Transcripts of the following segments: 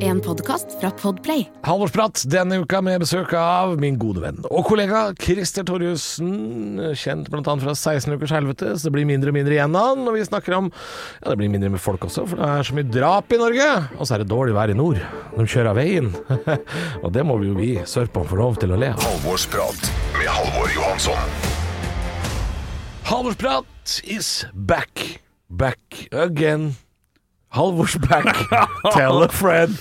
En podkast fra Podplay. Halvorsprat denne uka med besøk av min gode venn og kollega Christer Torjussen, kjent bl.a. fra 16 ukers helvete, så det blir mindre og mindre igjen av han. Og vi snakker om Ja, det blir mindre med folk også, for det er så mye drap i Norge. Og så er det dårlig vær i nord. De kjører av veien. og det må vi jo vi sørpe om få lov til å le av. Halvorsprat med Halvor Johansson. Halvorsprat is back. Back again. Halvors back. Tell a friend.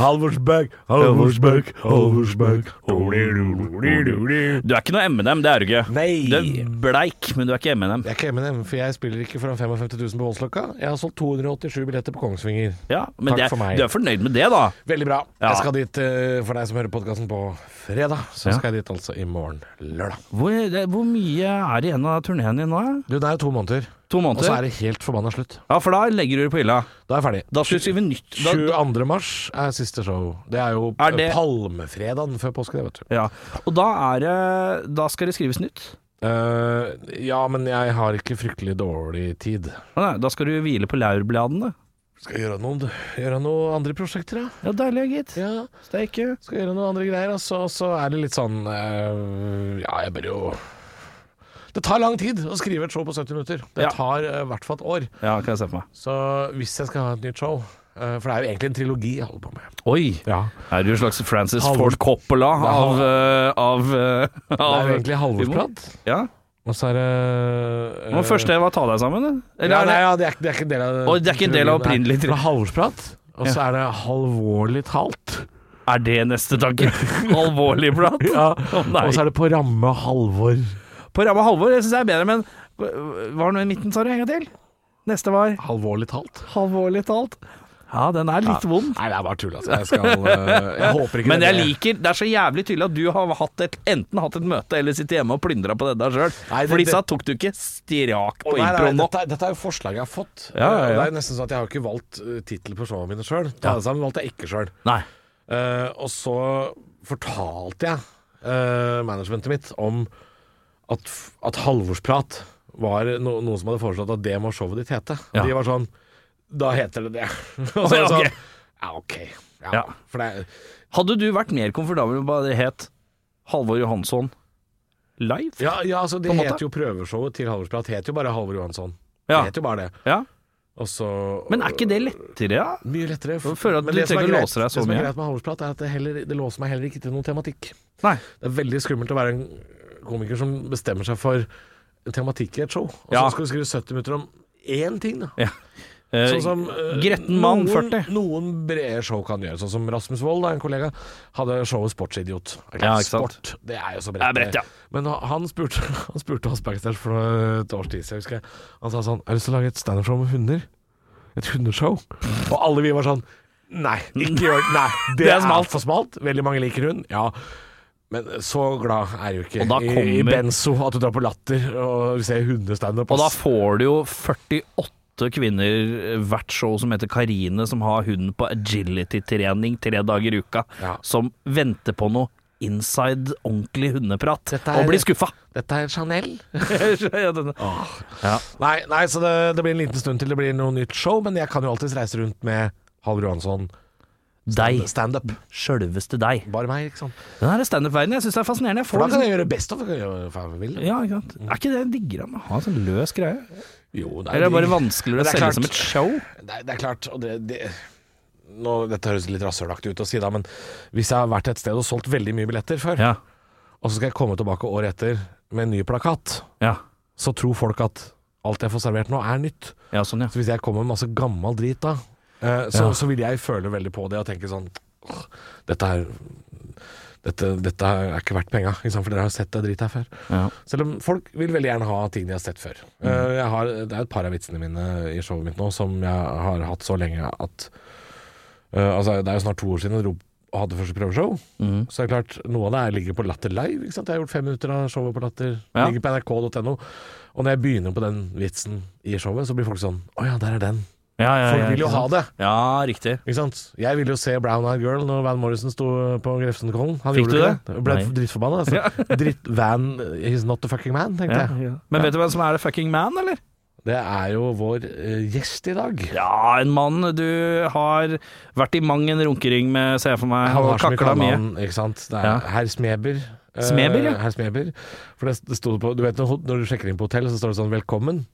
Halvors back, Halvors back, Halvors back. Du er ikke noe M&M, det er du ikke. Nei. Du er bleik, men du er ikke M&M. Jeg er ikke M&M, for jeg spiller ikke foran 55 000 på Voldsløkka. Jeg har solgt 287 billetter på Kongsvinger. Ja, men Takk det, for meg. du er fornøyd med det, da. Veldig bra. Ja. Jeg skal dit eh, for deg som hører podkasten på fredag. Så Ja. skal jeg dit altså i morgen lørdag. Hvor, det, hvor mye er igjen av turneen din nå? Du, det er jo to måneder, To og så måneder? er det helt forbanna slutt. Ja, for da legger du det på hylla. Da er jeg ferdig. Da skal du skrive nytt. Da, 22. mars er siste show. Det er jo eh, Er det- palmefredagen før påske, det, vet du. ja. Og da er det Da skal det skrives nytt. Eh, ja, men jeg har ikke fryktelig dårlig tid. Å Nei, da skal du hvile på laurbladene. Skal jeg gjøre noen, gjøre noen andre prosjekter, da? Ja, deilig, gitt. Ja. Steike. Skal gjøre noen andre greier, og så, så er det litt sånn eh, Ja, jeg bør jo Det tar lang tid å skrive et show på 70 minutter. Det Ja. tar eh, i hvert fall et år. Ja, kan jeg se for meg. Så hvis jeg skal ha et nytt show eh, For det er jo egentlig en trilogi jeg holder på med. Oi! Ja. Er du en slags Francis Halvor- Ford Coppola er av, eh, av, eh, Det av er jo egentlig halvårsprat. Ja. Og så er det Det var første var ta deg sammen, det. ja, Eller nei, er det ja, det, er, ikke- det er ikke en del av Å, det er ikke en del av trilogien, nei. opprinnelig Det er halvårsprat, og så er det halvorlig talt. Er det neste tanke? Alvorlig prat? Å, nei. Og så er det på ramme halvor. På ramme Halvor jeg synes jeg er bedre, men Hva var det med midten, sa du? En gang til? Neste var Halvorlig talt? Halvorlig talt. Ja, den er litt vond. Nei, det er bare tull, altså. Jeg, skal, eh, jeg håper ikke Men det jeg er det. liker Det er så jævlig tydelig at du har hatt et, enten hatt et møte eller sittet hjemme og plyndra på dette sjøl. Nei, det- For disse det- tok du ikke strak på Nei, nei, improen nå. dette, er- dette er jo forslag jeg har fått. Ja, ja, ja. Det er nesten sånn at jeg har ikke valgt uh, tittel på showene mine sjøl. Ja. sammen valgte jeg ikke sjøl. Nei. og så fortalte jeg eh, managementet mitt om at, f- at halvorsprat var no, noen som hadde foreslått at det må showet ditt hete. Og Ja. de var sånn Da heter det det. Og så ja, var ok. det sånn, ja, ok. Ja, Ja. For det, Hadde du vært mer komfortabel med hva det het Halvor Johansson live? ja, ja, altså, det På en måte. het jo prøveshowet til Halvorsprat. Het jo bare Halvor Johansson. Ja. Det het jo bare det. Ja. Og så Men er ikke det lettere, ja? Mye lettere. Jeg føler at Men du det som trenger er å greit- låse deg så Det som mye. er greit med Halvorsprat, er at det, heller, det låser meg heller ikke til noen tematikk. Nei. Det er veldig skummelt å være en komiker som bestemmer seg for en tematikk i et show, og så Ja. skal du skrive 70 minutter om én ting, da. Ja. Eh, Sånn som eh, Gretten mann, noen, 40. Noen brede show kan gjøre, sånn som Rasmus Wold, da, en kollega, hadde showet Sportsidiot. Ja, ikke sant. Sport, det er jo så Det er bredt. bredt, ja. Men ha- han spurte, han spurte oss backstage for et års tid siden, husker jeg. Han sa sånn Har du lyst til å lage et standup-show med hunder? Et hundeshow? Og alle vi var sånn Nei, ikke gjør det. Nei, det, Det er er smalt. for smalt. Veldig mange liker hund. Ja. Men så glad er du ikke Og da i, i kommer- benzo at du drar på latter og ser hundestandup. Og da ass. får du jo 48 kvinner hvert show som heter Karine, som har hunden på agility-trening tre dager i uka, Ja. som venter på noe inside, ordentlig hundeprat, Dette er- og blir skuffa. Dette er Chanel. ja, Nei, nei så det, det blir en liten stund til det blir noe nytt show, men jeg kan jo alltids reise rundt med Halvor Johansson deg. standup. Sjølveste deg. Bare meg, ikke sant. Den her standup-verdenen jeg syns er fascinerende. Jeg For får da kan liksom jeg gjøre best of. Jeg kan gjøre hva jeg vil. ja, ikke sant? Er ikke det diggere enn å ha en sånn løs greie? Jo, det Eller er det bare digg. vanskeligere å Men det er selge klart- som et show? Det, er- det er klart, og det, det nå, Dette høres litt rasshølaktig ut å si, da, men hvis jeg har vært et sted og solgt veldig mye billetter før, Ja. og så skal jeg komme tilbake året etter med en ny plakat, Ja, så tror folk at alt jeg får servert nå, er nytt. ja sånn, ja. Så hvis jeg kommer med masse gammel drit da, eh, så, Ja. så vil jeg føle veldig på det og tenke sånn «Åh, Dette er dette, dette er ikke verdt penga, ikke sant? for dere har jo sett det dritet her før. ja. Selv om folk vil veldig gjerne ha ting de har sett før. Mm. Eh, Jeg har, det er et par av vitsene mine i showet mitt nå som jeg har hatt så lenge at eh, Altså, det er jo snart to år siden jeg dro og hadde første prøveshow. Mm. Så det er klart, noe av det her ligger på Latter Live. Ikke sant? Jeg har gjort fem minutter av showet på Latter. Ja. Ligger på nrk.no. Og når jeg begynner på den vitsen i showet, så blir folk sånn Å ja, der er den. Ja, ja, Folk ja, vil jo ikke ha sant? det. Ja, riktig. Ikke sant? Jeg ville jo se Brown Eyed Girl når Van Morrison sto på Grefsenkollen. Han Fikk gjorde du ikke det? Ble Nei. drittforbanna. Altså. Dritt Van He's not the fucking man, tenkte Ja, jeg. ja. Men vet du hvem som er the fucking man, eller? Det er jo vår eh, gjest i dag. Ja, en mann du har vært i mang en runkering med, ser jeg for meg, og så mye kakla mye. kallenavn, Ikke sant? Det er Ja. herr Smeber. Eh, Smeber, ja. Herr Smeber. For det, det sto på Du vet når, når du sjekker inn på hotell, så står det sånn 'velkommen',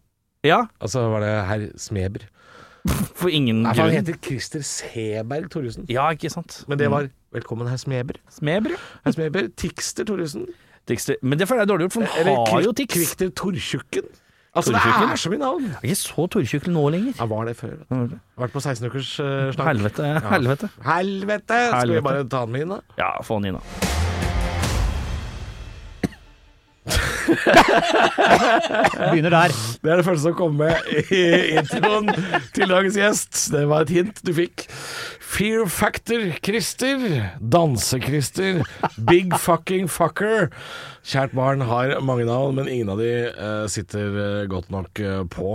Ja, og så var det herr Smeber. for ingen Nei, for han grunn. heter Christer Seberg Thoresen. Ja, ikke sant. Mm. Men det var 'velkommen, herr Smeber'. Smeber, ja. Herr Smeber. Tikster Thoresen. Dikster. Men det føler jeg er dårlig gjort, for han Eller har jo Kvik- tics. Det Kvikter Tortjukken. Altså, Tortjukken? det er så mye navn! er ikke så tortjukkel nå lenger. Han var det før. vet du. Vært på 16-ukers uh, slank. Helvete. Helvete. Helvete! Skal Helvete. vi bare ta den med inn, da? Ja, få han inn, da. Begynner der. Det er det første som kommer med i introen til dagens gjest. Det var et hint du fikk. Fear Factor-Christer. Danse-Christer. Big fucking fucker. Kjært barn har mange navn, men ingen av de eh, sitter eh, godt nok eh, på.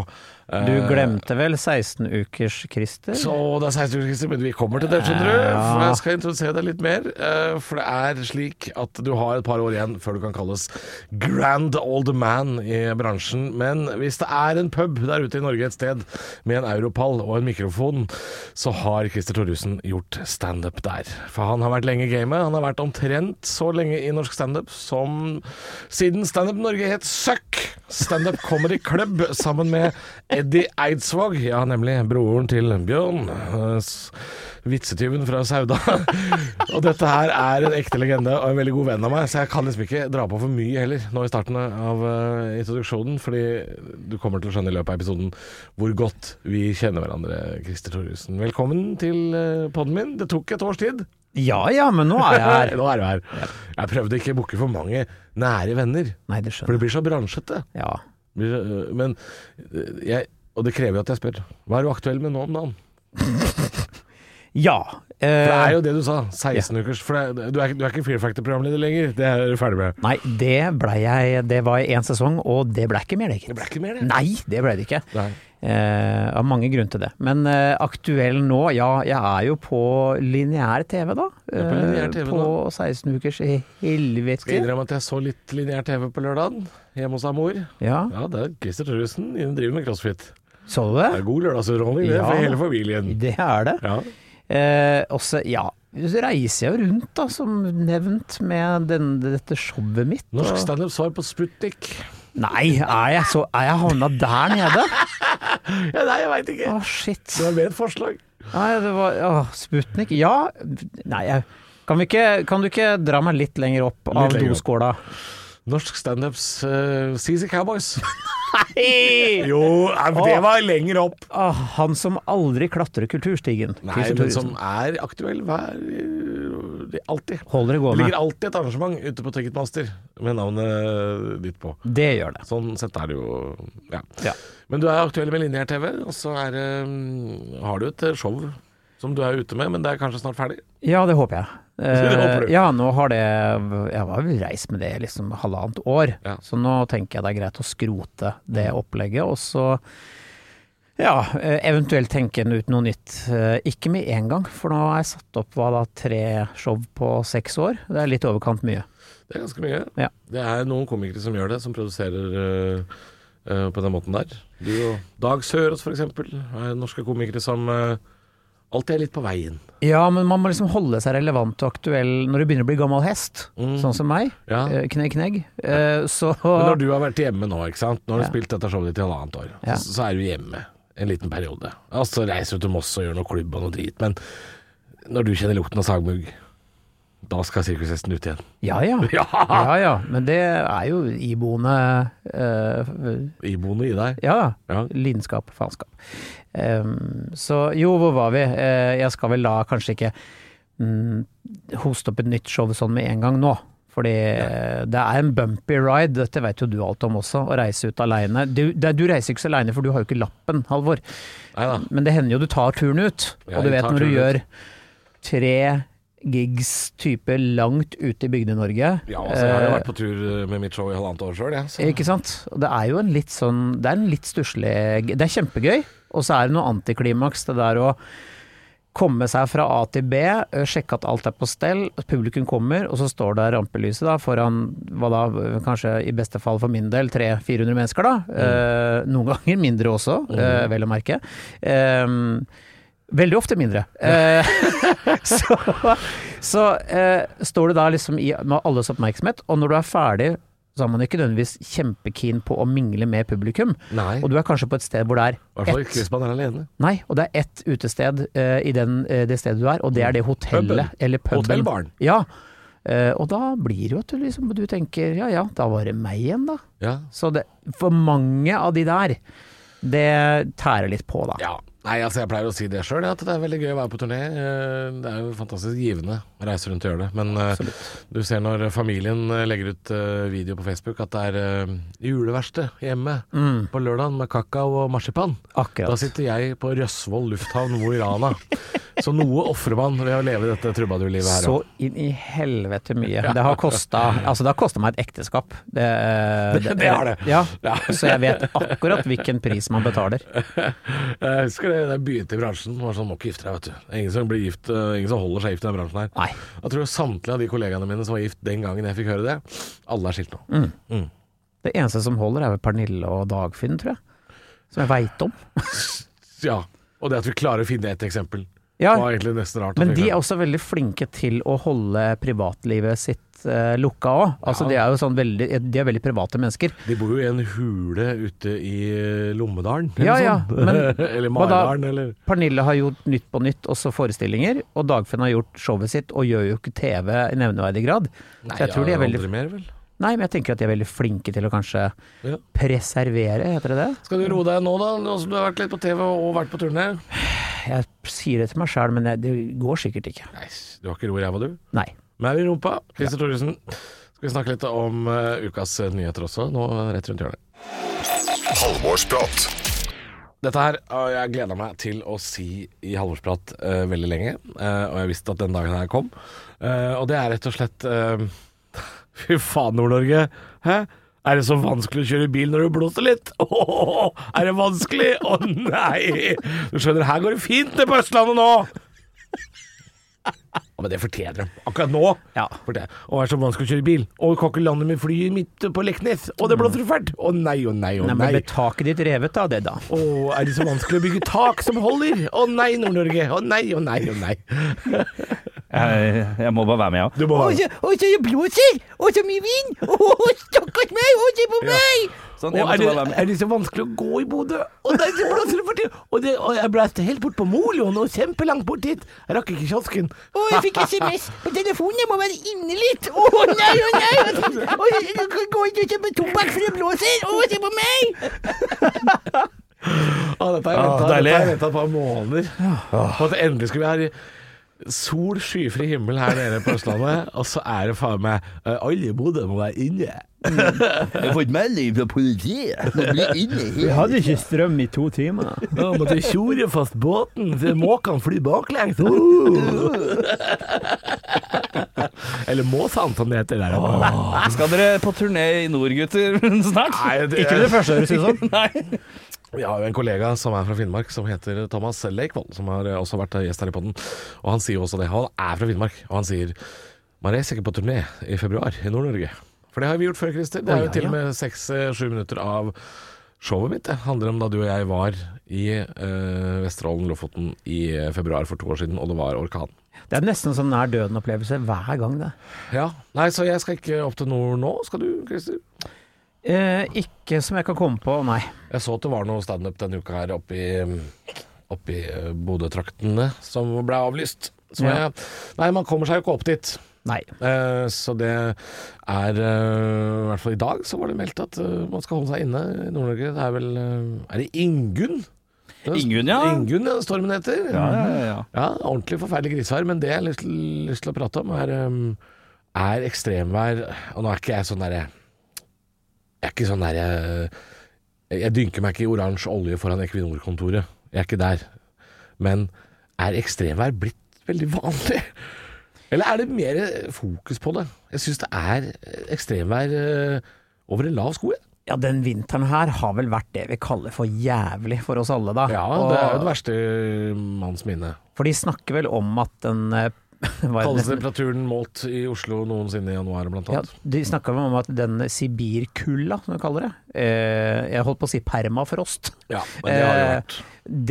Eh, Du glemte vel 16-ukers-Christer? Så det er 16 uker, Christer, men vi kommer til det, skjønner du. For jeg skal introdusere deg litt mer. eh, For det er slik at du har et par år igjen før du kan kalles grand old man i bransjen. Men hvis det er en pub der ute i Norge et sted med en europall og en mikrofon, så har Christer Thoresen gjort standup der. For han har vært lenge i gamet. Han har vært omtrent så lenge i norsk standup som siden Standup Norge het Søkk! Standup Comedy Club sammen med Eddie Eidsvåg, ja, nemlig broren til Bjørn, eh, s- vitsetyven fra Sauda. og dette her er en ekte legende og en veldig god venn av meg, så jeg kan liksom ikke dra på for mye heller nå i starten av eh, introduksjonen, fordi du kommer til å skjønne i løpet av episoden hvor godt vi kjenner hverandre, Christer Thoresen. Velkommen til eh, podden min. Det tok et års tid. Ja ja, men nå er jeg her. Nå er du her. Jeg prøvde ikke å booke for mange nære venner. Nei, det For skjønner det blir så bransjete. jeg. Ja. Blir så- øh, Men øh, jeg Og det krever jo at jeg spør. Hva er du aktuell med nå om dagen? ja. For det Eh, er jo det du sa. 16 ukers. For det, du, er, ikke- du er ikke Fear Factor-programleder lenger. Det er du ferdig med. nei, det blei jeg Det var én sesong, og det blei ikke mer, det, Det ble gitt. ikke mer, det. Nei, det blei det ikke. Nei. Eh, av mange grunner til det. Men eh, aktuell nå, ja, jeg er jo på lineær TV, da. Eh, er på lineær TV på 16 ukers Skal helvete. innrømme at jeg så litt lineær TV på lørdagen hjemme hos mor. Ja, Ja, det er Christer Thoresen. Hun driver med crossfit. så du det? Det er god lørdagsunderholdning det, for Ja. hele familien. Det er det. Ja. Eh, også, ja, så reiser jeg jo rundt, da, som nevnt, med den, dette showet mitt. Norsk og- standup svar på Sputnik. Nei, er jeg, så, er jeg havna der nede? Ja, nei, jeg veit Å, ikke. shit. Det var mer et forslag. Nei, det var å, Sputnik. Ja. Nei, jeg kan, vi ikke, kan du ikke dra meg litt lenger opp av lenger opp. doskåla? Norsk standups uh, CC Cowboys. Hei! Jo, det var lenger opp. Å, han som aldri klatrer kulturstigen. Nei, Christer men Thoresen. som er aktuell hver det er Alltid. Holder det Det ligger gående. alltid et arrangement ute på Ticketmaster med navnet eh, ditt på. Det gjør det. Sånn sett er det jo ja. Ja. Men du er aktuell med lineær-TV, og så er, det- mm, har du et eh, show som du er ute med, men det er kanskje snart ferdig. Ja, det håper jeg. Det håper du. Eh, ja, nå har det Jeg var jo reist med det i liksom halvannet år, Ja. Mm. så nå tenker jeg det er greit å skrote det opplegget, og så ja, eh, eventuelt tenke ut noe nytt. Eh, Ikke med en gang, for nå har jeg satt opp hva da, tre show på seks år. Det er litt overkant mye. Det er ganske mye. Ja. Det er noen komikere som gjør det, som produserer øh, øh, på den måten der. De og Dag Sørås, for eksempel, er norske komikere som øh, alltid er litt på veien. Ja, men man må liksom holde seg relevant og aktuell når du begynner å bli gammel hest, sånn som meg. Mm. Ja. Eh, Knegg, knegg. Eh, Så Men når du har vært hjemme nå, ikke sant? Nå har du Ja. spilt dette showet ditt i halvannet år, Ja. så, så er du hjemme en liten periode. Og så reiser du til Moss og gjør noe klubb og noe drit. Men når du kjenner lukten av sagmugg, da skal sirkushesten ut igjen. Ja ja. Ja! Ja ja, men det er jo iboende eh, Iboende i deg. Ja da. Ja. Lidenskap, faenskap. Ehm, så jo, hvor var vi? Eh, jeg skal vel da kanskje ikke mm, hoste opp et nytt show sånn med en gang nå. Fordi eh, det er en bumpy ride, dette vet jo du alt om også, å reise ut aleine. Du, det- du reiser ikke så aleine, for du har jo ikke lappen, Halvor. Nei da. Men det hender jo du tar turen ut, Ja, og du jeg vet tar når du turen gjør tre gigs type langt ute i Bygde-Norge. Ja, altså, jeg har jo vært på tur med mitt show i halvannet år sjøl, jeg. Eh, Ikke sant? Og Det er jo en litt sånn Det er en litt stusslig Det er kjempegøy, og så er det noe antiklimaks, det der å komme seg fra A til B, eh, sjekke at alt er på stell, publikum kommer, og så står det rampelyset da foran hva da, kanskje i beste fall for min del 300-400 mennesker, da. Eh, noen ganger mindre også, eh, vel å merke. Eh, Veldig ofte mindre. Eh, så så eh, står du da liksom i, med alles oppmerksomhet, og når du er ferdig, så er man ikke nødvendigvis kjempekeen på å mingle med publikum. Nei. Eh. Og du er kanskje på et sted hvor det I hvert er fall ikke ett hvis man er alene. Nei, og det er ett utested eh, i den, eh, det stedet du er, og det er det hotellet. Puben. Eller puben. Mm. Hotellbaren. Ja. Eh, og da blir det jo at du liksom Du tenker ja ja, da var det meg igjen, da. Ja. Så det, for mange av de der, det tærer litt på, da. ja. Nei, altså jeg pleier å si det sjøl, at det er veldig gøy å være på turné. Eh, Det er jo fantastisk givende å reise rundt og gjøre det. Men eh, du ser når familien eh, legger ut eh, video på Facebook at det er eh, juleverksted hjemme på lørdag med kakao og marsipan. Mm, Akkurat. Da sitter jeg på Røsvoll lufthavn Mo i Rana. Så noe ofrer man ved å leve dette trubadurlivet her. Så også. inn i helvete mye. Det har kosta altså det har kosta meg et ekteskap. Det, Det- det har det. Ja, Ja. så jeg vet akkurat hvilken pris man betaler. Eh, Jeg husker det, da jeg begynte i bransjen, var det sånn må ikke gifte deg, vet du. Det er Ingen som, blir gift, eh, ingen som holder seg gift i den bransjen her. Nei. Jeg tror samtlige av de kollegaene mine som var gift den gangen jeg fikk høre det, alle er skilt nå. Det eneste som holder er vel Pernille og Dagfinn, tror jeg. Som jeg veit om. Ja. Og det at vi klarer å finne ett eksempel, Ja, var egentlig nesten rart. å men finne de er frem. også veldig flinke til å holde privatlivet sitt eh, lukka òg. Altså, de er jo sånn veldig, de er veldig private mennesker. de bor jo i en hule ute i eh, Lommedalen, eller Ja, ja, sånn. men eller hva da? Maridalen, eller Pernille har gjort Nytt på nytt, også forestillinger. Og Dagfinn har gjort showet sitt, og gjør jo ikke TV i nevneverdig grad. Så jeg tror de er veldig aldri mer, vel. Nei, men jeg tenker at de er veldig flinke til å kanskje Ja. preservere, heter det det? Skal du roe deg nå, da? Nå som du har vært litt på TV og vært på turné? Jeg sier det til meg sjøl, men jeg, det går sikkert ikke. Nei, du har ikke ro i ræva, du. Nei. Mer i rumpa. Christer Thoresen. Skal vi snakke litt om eh, ukas nyheter også, nå eh, rett rundt hjørnet. Halvorsprat. Dette her har jeg gleda meg til å si i Halvorsprat eh, veldig lenge, eh, og jeg visste at den dagen her kom. Eh, og det er rett og slett eh, Fy faen, Nord-Norge. Hæ? Er det så vanskelig å kjøre bil når du blåser litt? Ååå, er det vanskelig? Å nei! Du skjønner, her går det fint nede på Østlandet nå! Ja, men det fortjener de. Akkurat nå. Ja. fortjener de. Å, er det så vanskelig å kjøre bil? Og kan ikke lande med flyet mitt på Leknes? Og det blåser fælt! Å nei, å nei, å Nei, nei. men ble taket ditt revet av det, da? Å, er det så vanskelig å bygge tak som holder? Å nei, Nord-Norge. Å nei, å nei, å nei. Jeg, jeg må bare være med, ja. Du må bare og så blåser! Og så mye vind! Å, stakkars meg! Å, se på meg! Sånn, Å, jeg er, måtte det, bare være med. er det så vanskelig å gå i Bodø? Å nei, så blåser det for tiden. Og, det, og jeg blåste helt bort på Moloen og kjempelangt bort dit. Jeg rakk ikke kiosken. Å, jeg fikk SMS på telefonen, jeg må være inne litt! Å nei, å nei! Å, jeg kan gå ikke og kjøpe tobakk for det blåser! Å, se på meg! Å, Å, dette har jeg ventet- dette har jeg deilig. venta på i måneder. Og at endelig skulle vi ha sol, skyfri himmel her nede på Østlandet, og så er det faen meg eh, Alle i Bodø må være inne. Jeg har fått melding fra politiet. Nå blir inne her. hadde ikke strøm i to timer. Ja, måtte tjore fast båten så måkene flyr baklengs. Uh! Eller måsan, som det heter der. Skal dere på turné i nord, gutter, snart? Nei, det- Ikke med det første, høres det sånn. ut som. Nei. Vi har jo en kollega som er fra Finnmark, som heter Thomas Leikvoll, som har eh, også vært gjest her i podden. Og han sier jo også det. Han er fra Finnmark, og han sier man reiser ikke på turné i februar i Nord-Norge. For det har vi gjort før, Christer. Det er ja, jo til og med seks-sju minutter av showet mitt. Det handler om da du og jeg var i eh, Vesterålen, Lofoten, i eh, februar for to år siden, og det var orkan. Det er nesten sånn nær døden-opplevelse hver gang, det. Ja, nei, så jeg skal ikke opp til nord nå, skal du, Christer? Eh, ikke som jeg kan komme på, nei. Jeg så at det var noe standup denne uka her oppe i, oppe i eh, Bodø-traktene som ble avlyst. Så Ja. jeg, nei, man kommer seg jo ikke opp dit. Nei. Eh, så det er eh, I hvert fall i dag så var det meldt at eh, man skal holde seg inne i Nord-Norge. Det er vel eh, Er det Ingunn? Det er- Ingunn, ja. Ingunn, ja, stormen heter. Ja, ja, ja. Ja, ordentlig forferdelig grisevær, men det jeg har lyst, lyst til å prate om, er, um, er ekstremvær. Og nå er ikke jeg sånn derre Jeg er ikke sånn derre Jeg dynker meg ikke i oransje olje foran Equinor-kontoret. Jeg er ikke der. Men er ekstremvær blitt veldig vanlig? Eller er det mer fokus på det? Jeg syns det er ekstremvær eh, over en lav sko. jeg. Ja, den vinteren her har vel vært det vi kaller for jævlig for oss alle, da. Ja, det er jo det verste manns minne. For de snakker vel om at den eh, hva er det Kaldeste nesten- temperaturen målt i Oslo noensinne i januar, blant ja, annet. De snakker vel om at den sibirkulda, som de kaller det eh, Jeg holdt på å si permafrost. Ja, men det har det jo Eh, vært.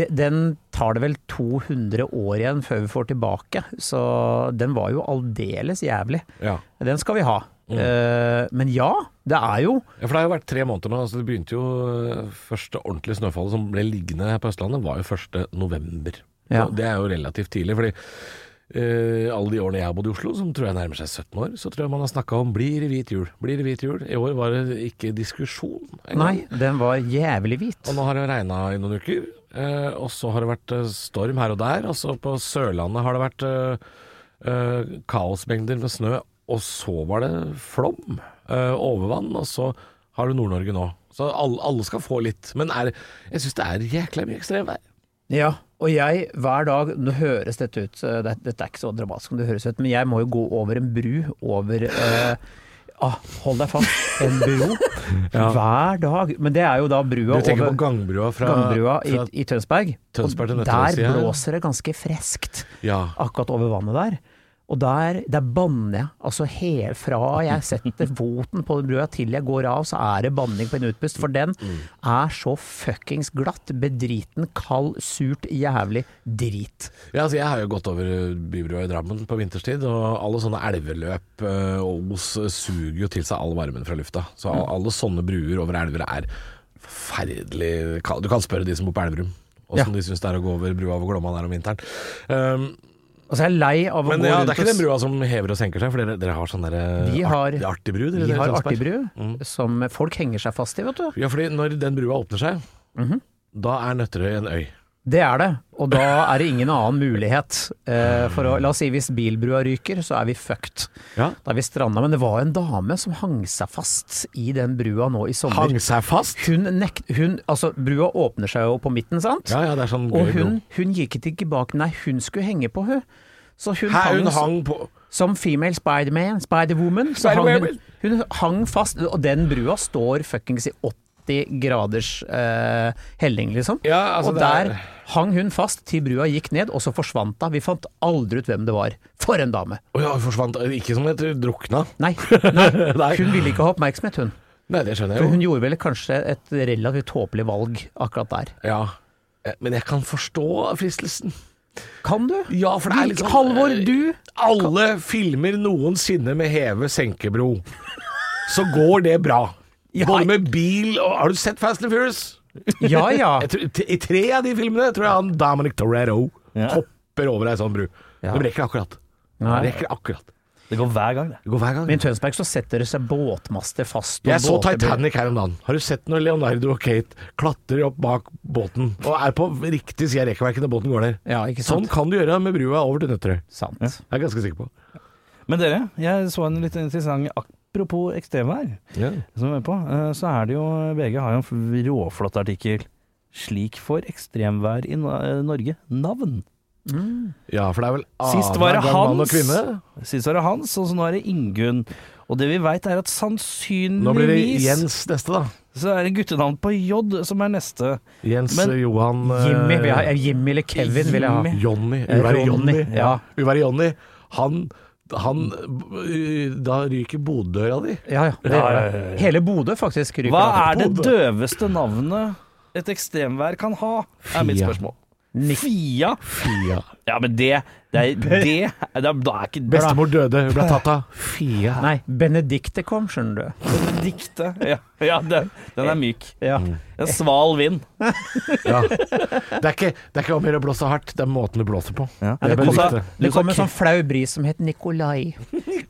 de, den tar det vel 200 år igjen før vi får tilbake, så den var jo aldeles jævlig. Ja. Den skal vi ha. Mm. Eh, men ja, det er jo ja, for det har jo vært tre måneder nå. Altså det begynte jo eh, første ordentlige snøfallet som ble liggende her på Østlandet, var jo 1. november. Ja. Og Det er jo relativt tidlig, fordi eh, alle de årene jeg har bodd i Oslo, som tror jeg nærmer seg 17 år, så tror jeg man har snakka om blir det hvit jul, blir det hvit jul. I år var det ikke diskusjon. engang. Nei, den var jævlig hvit. Og nå har det regna i noen uker, eh, og så har det vært eh, storm her og der. Og så på Sørlandet har det vært eh, eh, kaosmengder med snø, og så var det flom, eh, overvann, og så har du Nord-Norge nå. Så alle, alle skal få litt. Men er, jeg syns det er jækla mye ekstremvær. Ja, og jeg hver dag Nå høres dette ut, eh, det, dette er ikke så dramatisk som det høres ut, men jeg må jo gå over en bru over eh, ah, Hold deg fast, en bro hver dag. Men det er jo da brua Du tenker over på gangbrua fra, Gangbrua i, fra i Tønsberg. Tønsberg til og Nøtterøy, der sier jeg. blåser det ganske freskt Ja. akkurat over vannet der. Og der, der banner jeg. Altså helt fra jeg setter foten på den brua til jeg går av, så er det banning på en utpust. For den Mm. er så fuckings glatt, bedriten, kald, surt, jævlig drit. Ja, altså jeg har jo gått over bybrua i Drammen på vinterstid, og alle sånne elveløp eh, og os suger jo til seg all varmen fra lufta. Så Mm. al- alle sånne bruer over elver er forferdelig kald. Du kan spørre de som bor på Elverum, åssen de syns det er å gå over brua over Glomma der om vinteren. Um, Altså jeg er lei av å men gå ja, rundt det er ikke den brua og s- som hever og senker seg, for dere, dere har sånn derre Vi har- art, artig bru? dere, Vi dere i har Tønsberg. Mm. artig bru som folk henger seg fast i, vet du. Ja, fordi når den brua åpner seg, Mhm. da er Nøtterøy en øy. Det er det, og da er det ingen annen mulighet. eh, for å, la oss si hvis bilbrua ryker, så er vi fucked. Ja. Da er vi stranda. Men det var en dame som hang seg fast i den brua nå i sommer. Hang seg fast? Hun nekt, hun, altså Brua åpner seg jo på midten, sant? Ja, ja, det er sånn og gøy bro. hun, hun gikk ikke tilbake, nei, hun skulle henge på, hun. Så hun, Her hun s- hang på som female Spiderman, Spiderwoman. så hang Hun, hun hang fast, og den brua står fuckings i 80 graders eh, helling, liksom. Ja, altså, og det er- der hang hun fast til brua gikk ned, og så forsvant hun. Vi fant aldri ut hvem det var. For en dame! Å ja, hun forsvant. Ikke som et drukna. Nei, nei Nei. hun ville ikke ha oppmerksomhet, hun. Nei, det skjønner For jeg hun jo. gjorde vel kanskje et relativt tåpelig valg akkurat der. Ja. Eh, Men jeg kan forstå fristelsen. Kan du? Ja, for det er Vil- liksom Halvor, du? Alle filmer noensinne med heve-senkebro. Så går det bra. Ja. Både med bil og Har du sett Fast and Furious? Ja ja. Jeg tror, t I tre av de filmene tror jeg han Dominic Torero hopper over ei sånn bru. Ja. Det rekker akkurat. Det Nei. rekker akkurat. Det går hver gang, det. Det går hver gang. Men i Tønsberg så setter det seg båtmaster fast. og Jeg så båter blir- Titanic her om dagen. Har du sett når Leonardo og Kate klatrer opp bak båten og er på riktig side av rekkverket når båten går ned? Ja, ikke Sånn sant? kan du gjøre med brua over til Nøtterøy. Sant. Jeg er ganske sikker på. Men dere, jeg så en litt interessant Apropos ekstremvær, som vi er på, eh, så er det jo VG har jo en f- råflott artikkel. Slik får ekstremvær i Na- eh, Norge navn. Ja, for det er vel Sist var det annenhver gang mann og Hans. kvinne. Sist var det Hans, og så nå er det Ingunn. Og det vi veit er at sannsynligvis Nå blir det Jens neste, da. så er det guttenavn på J som er neste. Jens Men- eh, Johan eh, Jimmy, vil jeg ha, Jimmy eller Kevin vil jeg ha. Jimmy. Jonny. Uvære Jonny. Ronny, ja. Uvære Jonny. Han han eh, Da ryker boddøra di. Ja, ja, det gjør det. Hele Bodø faktisk ryker Hva av. er det døveste navnet et ekstremvær kan ha? Er mitt Fia. spørsmål. Fia? Fia. Ja, men det, det, er, det er- Da er ikke det Bestemor døde. Hun ble tatt av. Fia. Nei, Benedicte kom, skjønner du. diktet. Ja, ja den, den er myk. Mm. Ja. En sval vind. Ja. Det, er ikke, det er ikke om å gjøre å blåse hardt, det er måten du blåser på. Ja. Det er Du sa- Benedicte. du Det sa kom en Ke- sånn flau bris som het Nikolai.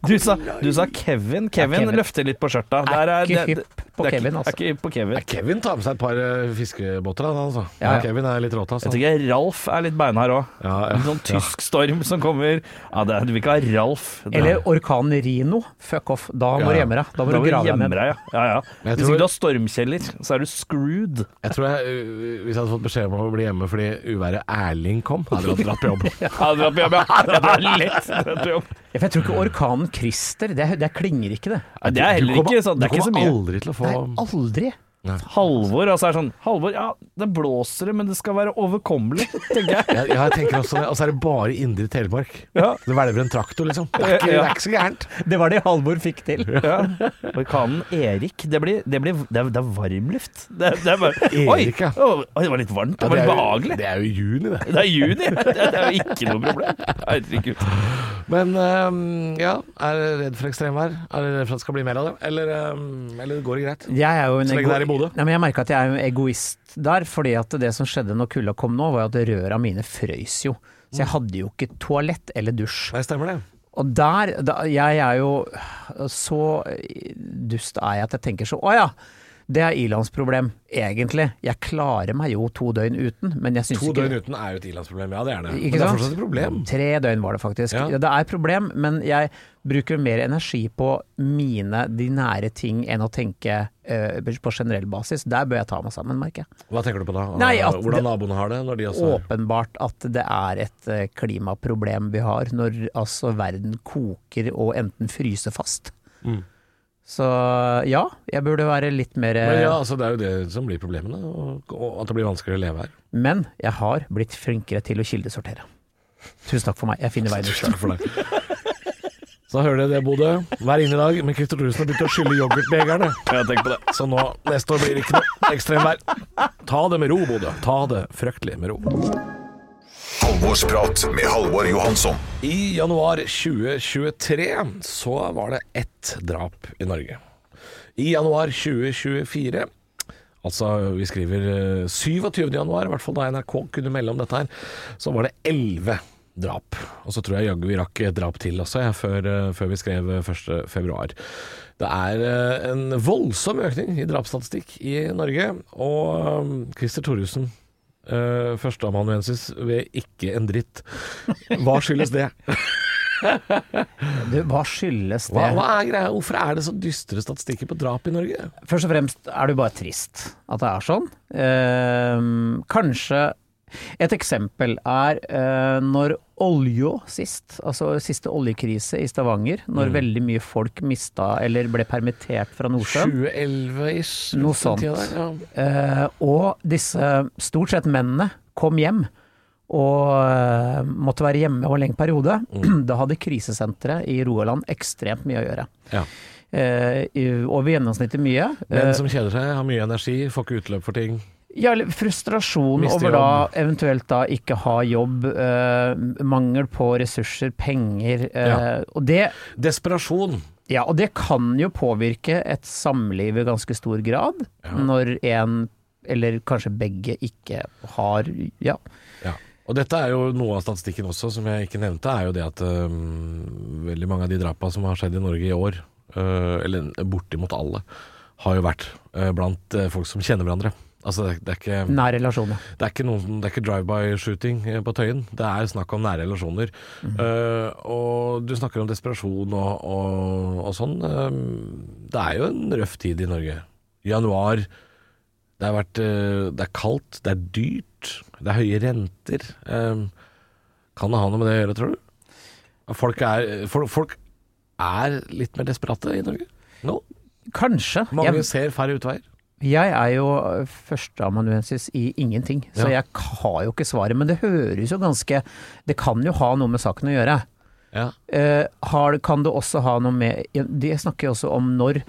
Du sa, du sa Kevin. Kevin Kevin. løfter litt på skjørta. Er Der ikke det- hypp på det er Kevin, ikke- altså. Er ikke hypp på Kevin. Ja, Kevin tar med seg et par eh, fiskebåter, han altså. Ja, ja. Kevin er litt råtass. Jeg han. tenker Ralf er litt beinhard òg. Ja, ja. En sånn tysk storm som kommer. Ja, det er, du vil ikke ha Ralf. Det- Eller orkanen Rino. Fuck off. Da må Ja, du ja. gjemme deg. Da må Da du må du grave deg gjemme ned. deg, ja. ja, ja. Men jeg Hvis tror- ikke du har stormkjeller, så er du screwed. Jeg tror jeg, uh, hvis jeg hadde fått beskjed om å bli hjemme fordi uværet Erling kom, hadde jeg dratt på jobb. Ja, det var på jobb, ja. Ja, det er lett. det er på jobb. Ja, for jeg tror ikke orkanen Christer, det, er- det klinger ikke, det. Nei, Det er Du heller kommer- ikke sånn. Det er ikke så Du mye. kommer aldri til å få Nei, aldri. Halvor, altså er sånn Halvor, ja, det blåser det, men det skal være overkommelig, tenker jeg. ja, ja, jeg tenker også det. Og så er det bare indre Telemark. Ja. Det hvelver en traktor, liksom. Det er ikke, det er ikke så gærent. Det var det Halvor fikk til. Ja. Orkanen Erik, det blir, det blir det er, det er varmluft. Det, det er bare, Erik, ja. oi, oi, det var litt varmt. Det var litt det, er jo, behagelig. det er jo i juni, det. Det er juni. Det det er jo ikke noe problem. Herregud. Men ehm, ja, er dere redd for ekstremvær? Er dere redd for at det skal bli mer av det? Eller, ehm, eller går det greit? Jeg er jo en Så lenge det er i ego- Bodø. Nei, men jeg merka at jeg er en egoist der, fordi at det som skjedde når kulda kom nå, var at røra mine frøys jo. Så jeg Mm. hadde jo ikke toalett eller dusj. Nei, stemmer det. Og der, da, jeg er jo øh, så dust er jeg at jeg tenker så Å ja, det er Ilans problem, egentlig. Jeg klarer meg jo to døgn uten, men jeg syns To ikke døgn uten er jo et ilandsproblem. Ja, det er det. Ikke Men det er sant? fortsatt et problem. Tre døgn var det faktisk. Ja. Ja. Det er et problem, men jeg bruker mer energi på mine, de nære ting, enn å tenke eh, på generell basis. Der bør jeg ta meg sammen, merker jeg. Hva tenker du på da? Nei, at Hvordan det- eh, naboene har det når de også Åpenbart at det er et eh, klimaproblem vi har, når altså verden koker og enten fryser fast. Mm. Så ja, jeg burde være litt mer eh, Men ja, altså, Det er jo det som blir problemene, og, og at det blir vanskelig å leve her. Men jeg har blitt flinkere til å kildesortere. Tusen takk for meg, jeg finner veien ut selv. Takk for det. Så da hører dere det, Bodø. Vær inne i dag, men Christer Thoresen har begynt å skylle yoghurtbegerne. Så nå, neste år blir det ikke noe ekstremvær. Ta det med ro, Bodø. Ta det fryktelig med ro. Halvorsprat med Halvor Johansson. I januar 2023 så var det ett drap i Norge. I januar 2024 Altså, vi skriver eh, 27. januar, i hvert fall da NRK kunne melde om dette her, så var det 11 drap. Og så tror jeg jaggu vi rakk et drap til også, jeg, før, eh, før vi skrev eh, 1. februar. Det er eh, en voldsom økning i drapsstatistikk i Norge, og eh, Christer Thoresen, eh, førsteamanuensis ved Ikke en dritt. Hva skyldes det? Du, hva skyldes det? Hva, hva er greia? Hvorfor er det så dystre statistikker på drap i Norge? Først og fremst er du bare trist at det er sånn. Ehm, kanskje et eksempel er eh, når olja sist, altså siste oljekrise i Stavanger, når veldig mye folk mista eller ble permittert fra Nordsjøen. 2011-ish? Noe sånt. Ja. Eh, og disse stort sett mennene kom hjem og eh, måtte være hjemme over en lengre periode. Da hadde krisesenteret i Rogaland ekstremt mye å gjøre. Ja. Eh, i- over gjennomsnittet mye. Menn Eh, som kjeder seg, har mye energi, får ikke utløp for ting. Ja, eller frustrasjon Mister over da eventuelt da ikke ha jobb, eh, mangel på ressurser, penger. eh, Ja. og, det, Desperasjon. ja, og det kan jo påvirke et samliv i ganske stor grad, når en eller kanskje begge ikke har Ja. Ja. Og dette er jo noe av statistikken også, som jeg ikke nevnte, er jo det at øhm, veldig mange av de drapa som har skjedd i Norge i år, øh, eller bortimot alle, har jo vært øh, blant øh, folk som kjenner hverandre. Altså, det, er- det er ikke Nær relasjoner. Det er ikke, noen som- det er ikke drive-by-shooting eh, på Tøyen. Det er snakk om nære relasjoner. Eh, og du snakker om desperasjon og, og, og sånn. Eh, det er jo en røff tid i Norge. Januar Det, har vært, eh, det er kaldt, det er dyrt, det er høye renter. Eh, kan det ha noe med det å gjøre, tror du? Folk er, folk, folk er litt mer desperate i Norge nå. Kanskje. Mange Jeg, ser færre utveier. jeg er jo førsteamanuensis i ingenting, Ja. så jeg har jo ikke svaret. Men det høres jo ganske Det kan jo ha noe med saken å gjøre. Ja. Eh, har, kan det også ha noe med De snakker jo også om når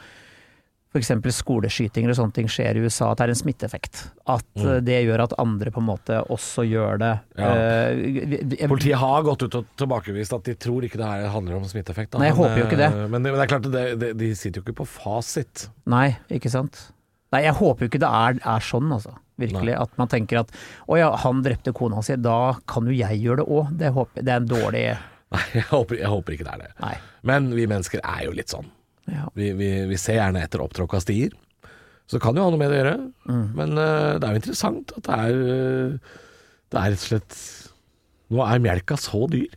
f.eks. skoleskytinger og sånne ting skjer i USA, at det er en smitteeffekt. At eh, det gjør at andre på en måte også gjør det. Mm. Ja. Eh, vi- vi- jeg- Politiet har gått ut og tilbakevist at de tror ikke det her handler om smitteeffekt. da. Nei, jeg Men, håper jo ikke det. eh, Men, det- men det er klart, det, det, de sitter jo ikke på fasit. Nei, ikke sant. Nei, jeg håper jo ikke det er, er sånn, altså. Virkelig. At man tenker at å ja, han drepte kona si, da kan jo jeg gjøre det òg. Det, håper- det er en dårlig Nei, jeg håper, jeg håper ikke det er det. Nei. Men vi mennesker er jo litt sånn. Ja. Vi, vi, vi ser gjerne etter opptråkka stier. Så det kan jo ha noe med det å gjøre. Mm. Men eh, det er jo interessant at det er eh, Det er rett og slett Nå er melka så dyr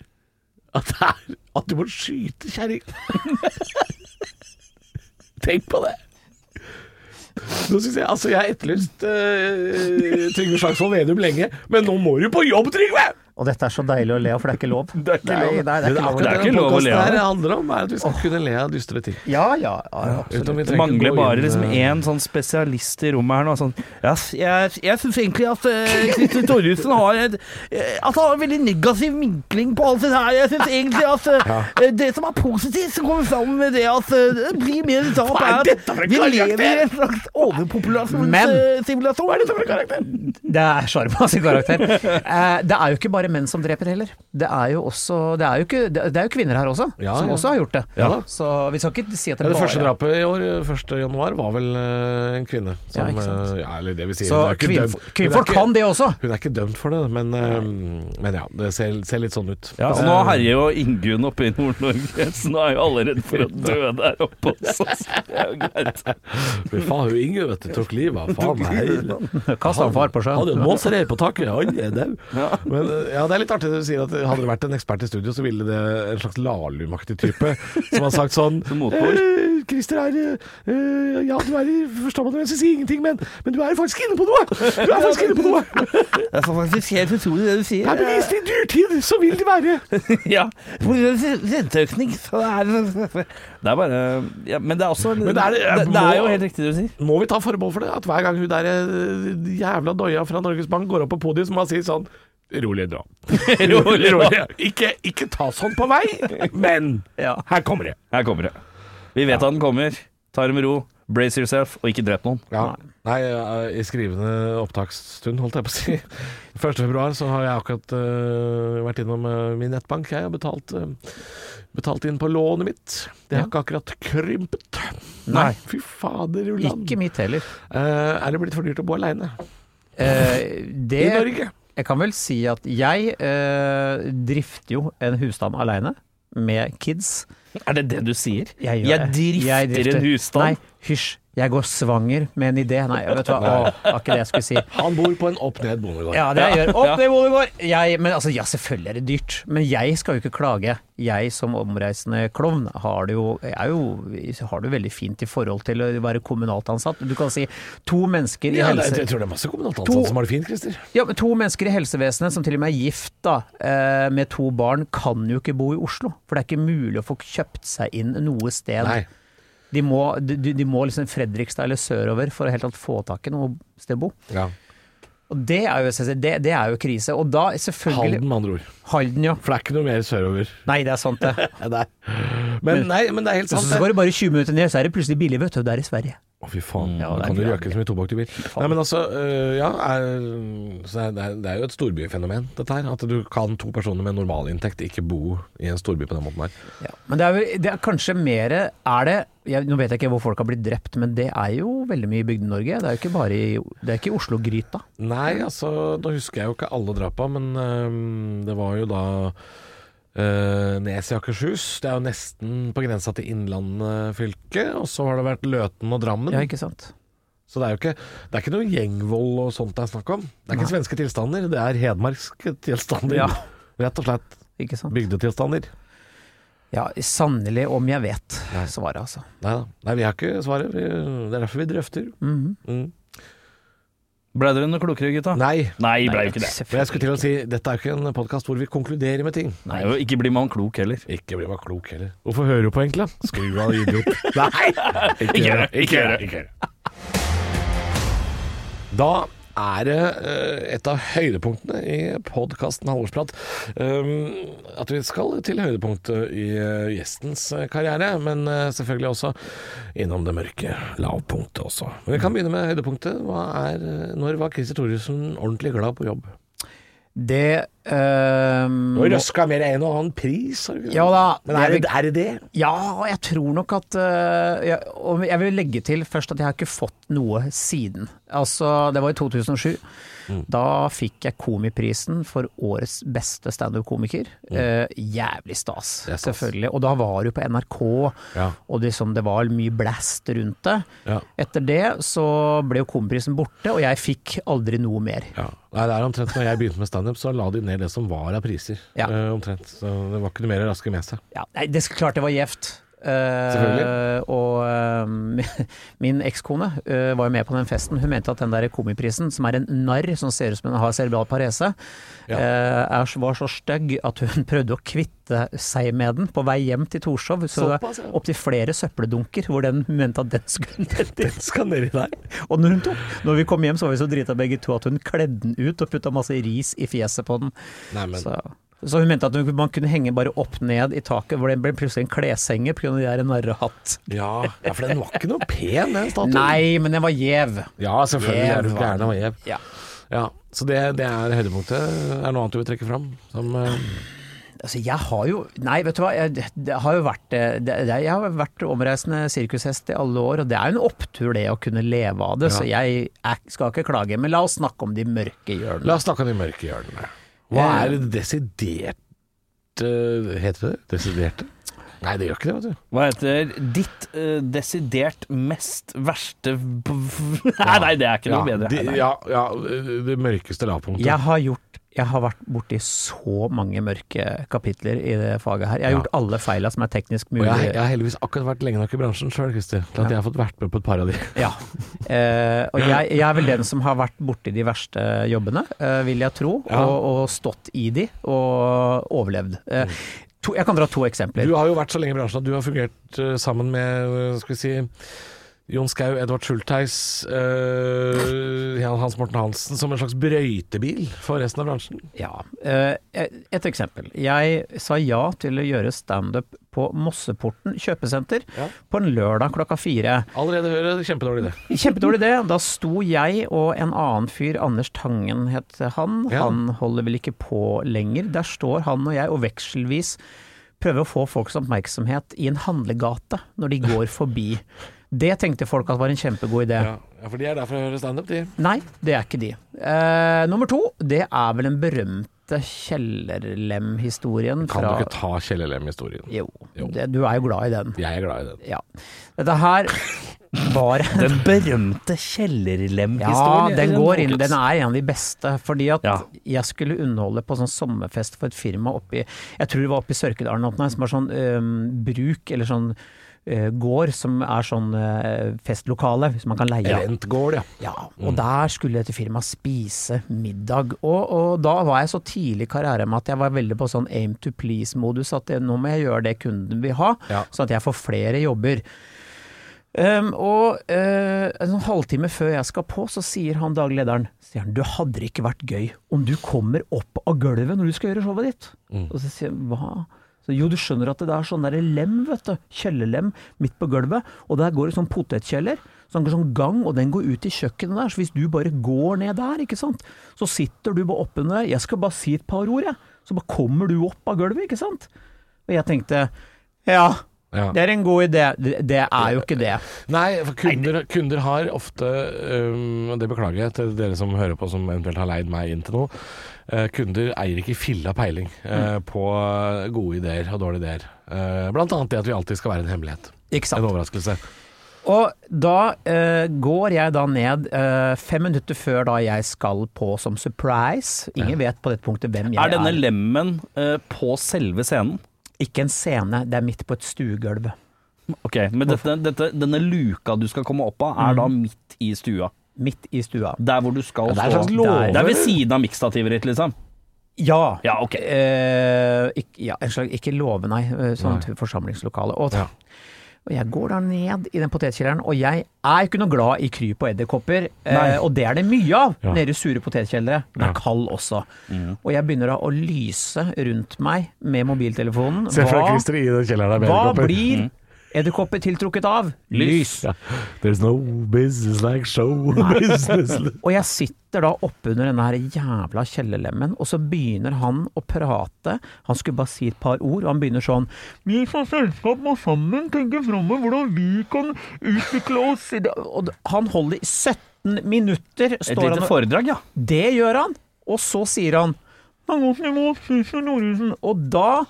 at, det er, at du må skyte kjerringa. Tenk på det! Nå synes jeg, altså jeg har etterlyst eh, Trygve Slagsvold Vedum lenge, men nå må du på jobb, Trygve! Og dette er så deilig å le av, for det er ikke lov. Det er ikke lov. Nei, nei, det er ikke lov. akkurat Det er ikke denne lov å le podcasten av det. her handler om, er at vi skal kunne le av dystre ting. Ja, ja, ja Uten om absolutt. vi Altså, Det trenger mangler å gå bare inn, liksom eh, én sånn spesialist i rommet her nå. Sånn, ja, s- jeg, jeg syns egentlig at eh, Kristin Torjussen har et, eh, at han har en veldig negativ vinkling på alt det her. Jeg syns egentlig at eh, eh, det som er positivt, som kommer fram med det at eh, det blir mer tap, er at vi lever i en slags eh, Men- overpopulasjonssimulasjon. Hva er dette for en karakter? Det er sjarm av sin karakter. Eh, Det er jo ikke bare menn som dreper heller. Det er jo også Det er jo, ikke, det er jo kvinner her også, Ja, som ja. også har gjort det. Ja da. Så vi skal ikke si at Ja, det det første bare drapet i år, 1. januar, var vel eh, en kvinne. Som, Ja, ikke sant. eh, ja, eller det vil si Så hun er ikke kvinnf- dømt. Hun er kvinnfolk ikke- kan det også. Hun er ikke dømt for det, men, eh, men ja. Det ser, ser litt sånn ut. Ja, og nå herjer jo Ingunn oppe i Nord-Norge, så nå er jo alle redd for å dø der oppe også. Så det er jo greit. Fy faen, hun Inge vet du, tok livet av faen meg. Kast han far på sjøen. Hadde en måsereir på taket, han er dau. Men eh, ja, det er litt artig det du sier, at hadde det vært en ekspert i studio, så ville det en slags Lahlum-aktig type som har sagt sånn motpol. «Eh, Christer er eh, eh, Ja, du er i forståelse, jeg sier ingenting, men, men du er faktisk inne på noe! Du er faktisk inne på noe! Det er faktisk helt utrolig det du sier. Det er bevist i dyrtid, så vil det være! Ja, på grunn av re- renteøkning. Så det er, det er bare ja, Men det er også det er- det, det, er jo helt riktig det du sier. Må vi ta forbehold for det? At hver gang hun der eh, jævla doia fra Norges Bank går opp på podiet, så må hun si sånn Rolig nå. Rolig nå. Ikke, ikke ta sånn på vei, men Ja. her kommer det. Her kommer det. Vi vet at den kommer. Ta det med ro. Brace yourself, og ikke drep noen. Ja. Nei, eh, i skrivende opptaksstund, holdt jeg på å si. 1. februar så har jeg akkurat eh, vært innom eh, min nettbank, jeg, og betalt, eh, betalt inn på lånet mitt. Det har ikke akkurat krympet. Nei. Fy fader, Uland. Ikke mitt heller. Eh, er det blitt for dyrt å bo aleine Eh, i Det Norge? Jeg kan vel si at jeg eh, drifter jo en husstand aleine, med kids. Er det det du sier? Jeg, gjør Jeg det. drifter, Jeg drifter. en husstand. Nei, hysj. Jeg går svanger med en idé. Nei, vet du hva. Å, det var ikke det jeg skulle si. Han bor på en opp-ned bondegård. Ja, det jeg gjør. Opp det hvor det går! Jeg, men altså, ja, selvfølgelig er det dyrt. Men jeg skal jo ikke klage. Jeg som omreisende klovn har det jo, jeg er jo, har det jo veldig fint i forhold til å være kommunalt ansatt. Du kan si to mennesker i Ja, det, helse... jeg tror det er masse kommunalt To- ansatte som har det fint, Christer. Ja, men To mennesker i helsevesenet som til og med er gift da, eh, med to barn, kan jo ikke bo i Oslo. For det er ikke mulig å få kjøpt seg inn noe sted. Nei. De må, de, de må liksom Fredrikstad eller sørover for å helt tatt få tak i noe sted å bo. Ja. Og det er jo, det, det er jo krise. Og da selvfølgelig Halden, med andre ord. Halden, ja. For det er ikke noe mer sørover. Nei, det er sant, det. Men, nei, men det er helt Så, sant. så går det bare 20 minutter ned, så er det plutselig billig, vet du. Det er i Sverige. Å, fy faen. Ja, da det er kan du ikke røke så mye tobakk du vil. Nei, men altså, øh, ja, er, så er, det, er, det er jo et storbyfenomen, dette her. At du kan to personer med normalinntekt ikke bo i en storby på den måten her. Ja, men det er, vel- det er kanskje mer Er det jeg, Nå vet jeg ikke hvor folk har blitt drept, men det er jo veldig mye i Bygde-Norge. Det er jo ikke bare i, det er ikke i Oslo-gryta. Nei, altså, nå husker jeg jo ikke alle drapa, men øhm, det var jo da øh, Nes i Akershus. Det er jo nesten på grensa til Innlandet fylke. Og så har det vært Løten og Drammen. Ja, ikke sant? Så det er jo ikke, det er ikke noe gjengvold og sånt det er snakk om. Det er ikke svenske tilstander, det er hedmarkske tilstander. Ja. Rett og slett Ikke sant? bygdetilstander. Ja, sannelig om jeg vet, svaret altså. Neida. Nei, vi har ikke svaret. Vi, det er derfor vi drøfter. Mhm. Mm. Blei dere noe klokere, gutta? Nei. Nei, blei jo ikke det. For jeg skulle til å si dette er jo ikke en podkast hvor vi konkluderer med ting. Nei, og Ikke blir man klok heller. Ikke bli meg klok heller. Hvorfor hører du på, egentlig? Skru av, idiot. Nei! Ikke gjør det. Ikke gjør det. Ikke gjør det. Da er det eh, et av høydepunktene i podkasten Halvorsprat. Um, At vi skal til høydepunktet i eh, gjestens eh, karriere, men eh, selvfølgelig også innom det mørke lavpunktet også. Men vi kan begynne med høydepunktet. Hva er, eh, når var Christer Thoresen ordentlig glad på jobb? Det ehm, Nå røska mer en og annen pris, har du ikke det? Ja da. Men er det er det? det? Ja, jeg tror nok at eh, jeg, og jeg vil legge til først at jeg har ikke fått noe siden. Altså, det var i 2007. Mm. Da fikk jeg Komiprisen for årets beste standup-komiker. Eh, jævlig stas, Mm. Det er stas. selvfølgelig. Og da var du på NRK, Ja. og liksom, det var mye blast rundt det. Ja. Etter det så ble jo Komiprisen borte, og jeg fikk aldri noe mer. Ja. Nei, det er omtrent når jeg begynte med standup, så la de ned det som var av priser. Ja. Eh, omtrent. Så det var ikke noe mer å raske med seg. Ja, nei, det er klart det var gjevt. Eh, Selvfølgelig. og eh, min ekskone eh, var jo med på den festen. Hun mente at den der komiprisen, som er en narr som ser ut som hun har cerebral parese, Ja. eh, er, så- var så stygg at hun prøvde å kvitte seg med den på vei hjem til Torshov. Så det Såpass, ja. er opptil flere søppeldunker hvor den hun mente at den skulle ned i. Skal ned i deg. Og når, hun tok, når vi kom hjem, så var vi så drita begge to at hun kledde den ut og putta masse ris i fjeset på den. Neimen. Så, så hun mente at hun, man kunne henge bare opp ned i taket, hvor det ble plutselig en kleshenger pga. de der narrehatt. Ja, ja, for den var ikke noe pen, den statuen. Nei, men den var gjev. Ja, selvfølgelig. Gjev er du var gæren den. av gjev. Ja. Ja, så det, det er høydepunktet. Er det noe annet du vil trekke fram? Som, eh, Altså, jeg har jo Nei, vet du hva. Jeg, det- det har jo vært, eh, det, det, jeg har vært omreisende sirkushest i alle år, og det er jo en opptur det å kunne leve av det, Ja. så jeg er, skal ikke klage. Men la oss snakke om de mørke hjørnene. la oss snakke om de mørke hjørnene. Hva Eh. er det desiderte Heter det desiderte? Nei, det gjør ikke det, vet du. Hva heter ditt eh, desidert mest verste Nei, nei, det er ikke noe bedre. de, Nei, nei. ja, ja, det mørkeste lavpunktet. Jeg har gjort jeg har vært borti så mange mørke kapitler i det faget her. Jeg har Ja. gjort alle feila som er teknisk Og mulig. jeg, jeg har heldigvis akkurat vært lenge nok i bransjen sjøl, Christer, til at jeg har fått vært med på et par av de. Ja. Eh, og jeg, jeg er vel den som har vært borti de verste jobbene, eh, vil jeg tro. Ja. Og, og stått i de, og overlevd. Eh, to, jeg kan dra to Mm. eksempler. Du har jo vært så lenge i bransjen at du har fungert eh, sammen med eh, skal vi si, Jon Skau, Edvard Schultheis, eh, Jan Hans Morten Hansen som en slags brøytebil for resten av bransjen. Ja. eh, Et eksempel. Jeg sa ja til å gjøre standup på Mosseporten kjøpesenter Ja. på en lørdag klokka fire. Allerede hører jeg kjempedårlig idé. Kjempedårlig idé. Da sto jeg og en annen fyr, Anders Tangen het han. Ja. Han holder vel ikke på lenger. Der står han og jeg og vekselvis prøver å få folks oppmerksomhet i en handlegate når de går forbi. Det tenkte folk at var en kjempegod idé. Ja. ja, for de er der for å høre standup, de. Nei, det er ikke de. Eh, nummer to, det er vel den berømte Kjellerlem-historien Kan fra du ikke ta Kjell Elem-historien? Jo, Jo. Det, du er jo glad i den. Jeg er glad i den. Ja. Dette her var Den berømte kjellerlemhistorien. Ja, den går inn. Den er en av de beste. Fordi at Ja. jeg skulle underholde på sånn sommerfest for et firma oppi Jeg tror det var oppi Sørkedalen, og noe, som er sånn øhm, bruk, eller sånn øh, gård, som er sånn øh, festlokale, som man kan leie. Rentgård, ja. Ja, og der skulle dette firmaet spise middag. Og, og da var jeg så tidlig i karrieren med at jeg var veldig på sånn aim to please-modus, at det, nå må jeg gjøre det kunden vil ha, Ja. sånn at jeg får flere jobber. Um, og eh, en sånn halvtime før jeg skal på, så sier han daglig lederen sier han, Du hadde det ikke vært gøy om du kommer opp av gulvet når du skal gjøre showet ditt. Og så sier han hva? Så, jo, du skjønner at det er sånn der lem, vet du. Kjellerlem midt på gulvet. Og der går det sånn potetkjeller. Så han går sånn gang, og den går ut i kjøkkenet der. Så hvis du bare går ned der, ikke sant, så sitter du bare oppunder der. Jeg skal bare si et par ord, jeg. Så bare kommer du opp av gulvet, ikke sant. Og jeg tenkte ja, Ja. det er en god idé. Det- Det er jo ikke det. Nei, for kunder, kunder har ofte øhm, og Det beklager jeg til dere som hører på som eventuelt har leid meg inn til noe. Eh, kunder eier ikke filla peiling eh, på gode ideer og dårlige ideer. Eh, blant annet det at vi alltid skal være en hemmelighet. En Ikke sant. overraskelse. Og da eh, går jeg da ned eh, fem minutter før da jeg skal på som surprise. Ingen vet på dette punktet hvem jeg Er er. denne lemmen eh, på selve scenen? Ikke en scene, det er midt på et stuegulv. Ok, Men dette, dette, denne luka du skal komme opp av, er da midt i stua. Midt i stua. Der hvor du skal Mm. det er en stå. slags låve. Det er ved siden av miksstativet ditt, liksom. Ja. Ja, ok. Eh, ikke, ja, en slags, ikke låve, nei. eh, Sånn forsamlingslokale. Og, Ja. og jeg går da ned i den potetkjelleren, og jeg er ikke noe glad i kryp og edderkopper. eh, Nei. og det er det mye av Ja. Mm. nede i sure potetkjellere. Den er kald også. Og jeg begynner da å lyse rundt meg med mobiltelefonen. Se for deg Christer i den kjelleren der med hva edderkopper. Mm. blir edderkopper tiltrukket av? Lys. Ja. There's no business like show business. Og jeg sitter da oppunder denne her jævla kjellerlemmen, og så begynner han å prate. Han skulle bare si et par ord, og han begynner sånn Vi som selskap må sammen tenke framover hvordan vi kan utvikle oss i det Og han holder i 17 minutter, Et står han lite og foredrag, ja. Det gjør han, og så sier han Mangosnivå, Susen Nordhusen. Og da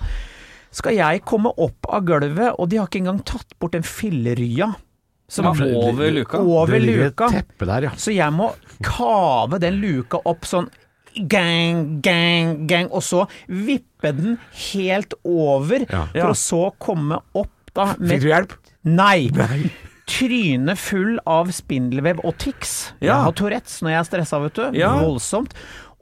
skal jeg komme opp av gulvet, og de har ikke engang tatt bort den fillerya som Ja, er over luka. over det ligger et luka. teppe der, ja. Så jeg må kave den luka opp sånn gang, gang, gang, og så vippe den helt over, Ja. for å så komme opp natta Fikk med du hjelp? Nei! Trynet full av spindelvev og tics. Jeg Ja. har Tourettes når jeg er stressa, vet du. Ja. Voldsomt.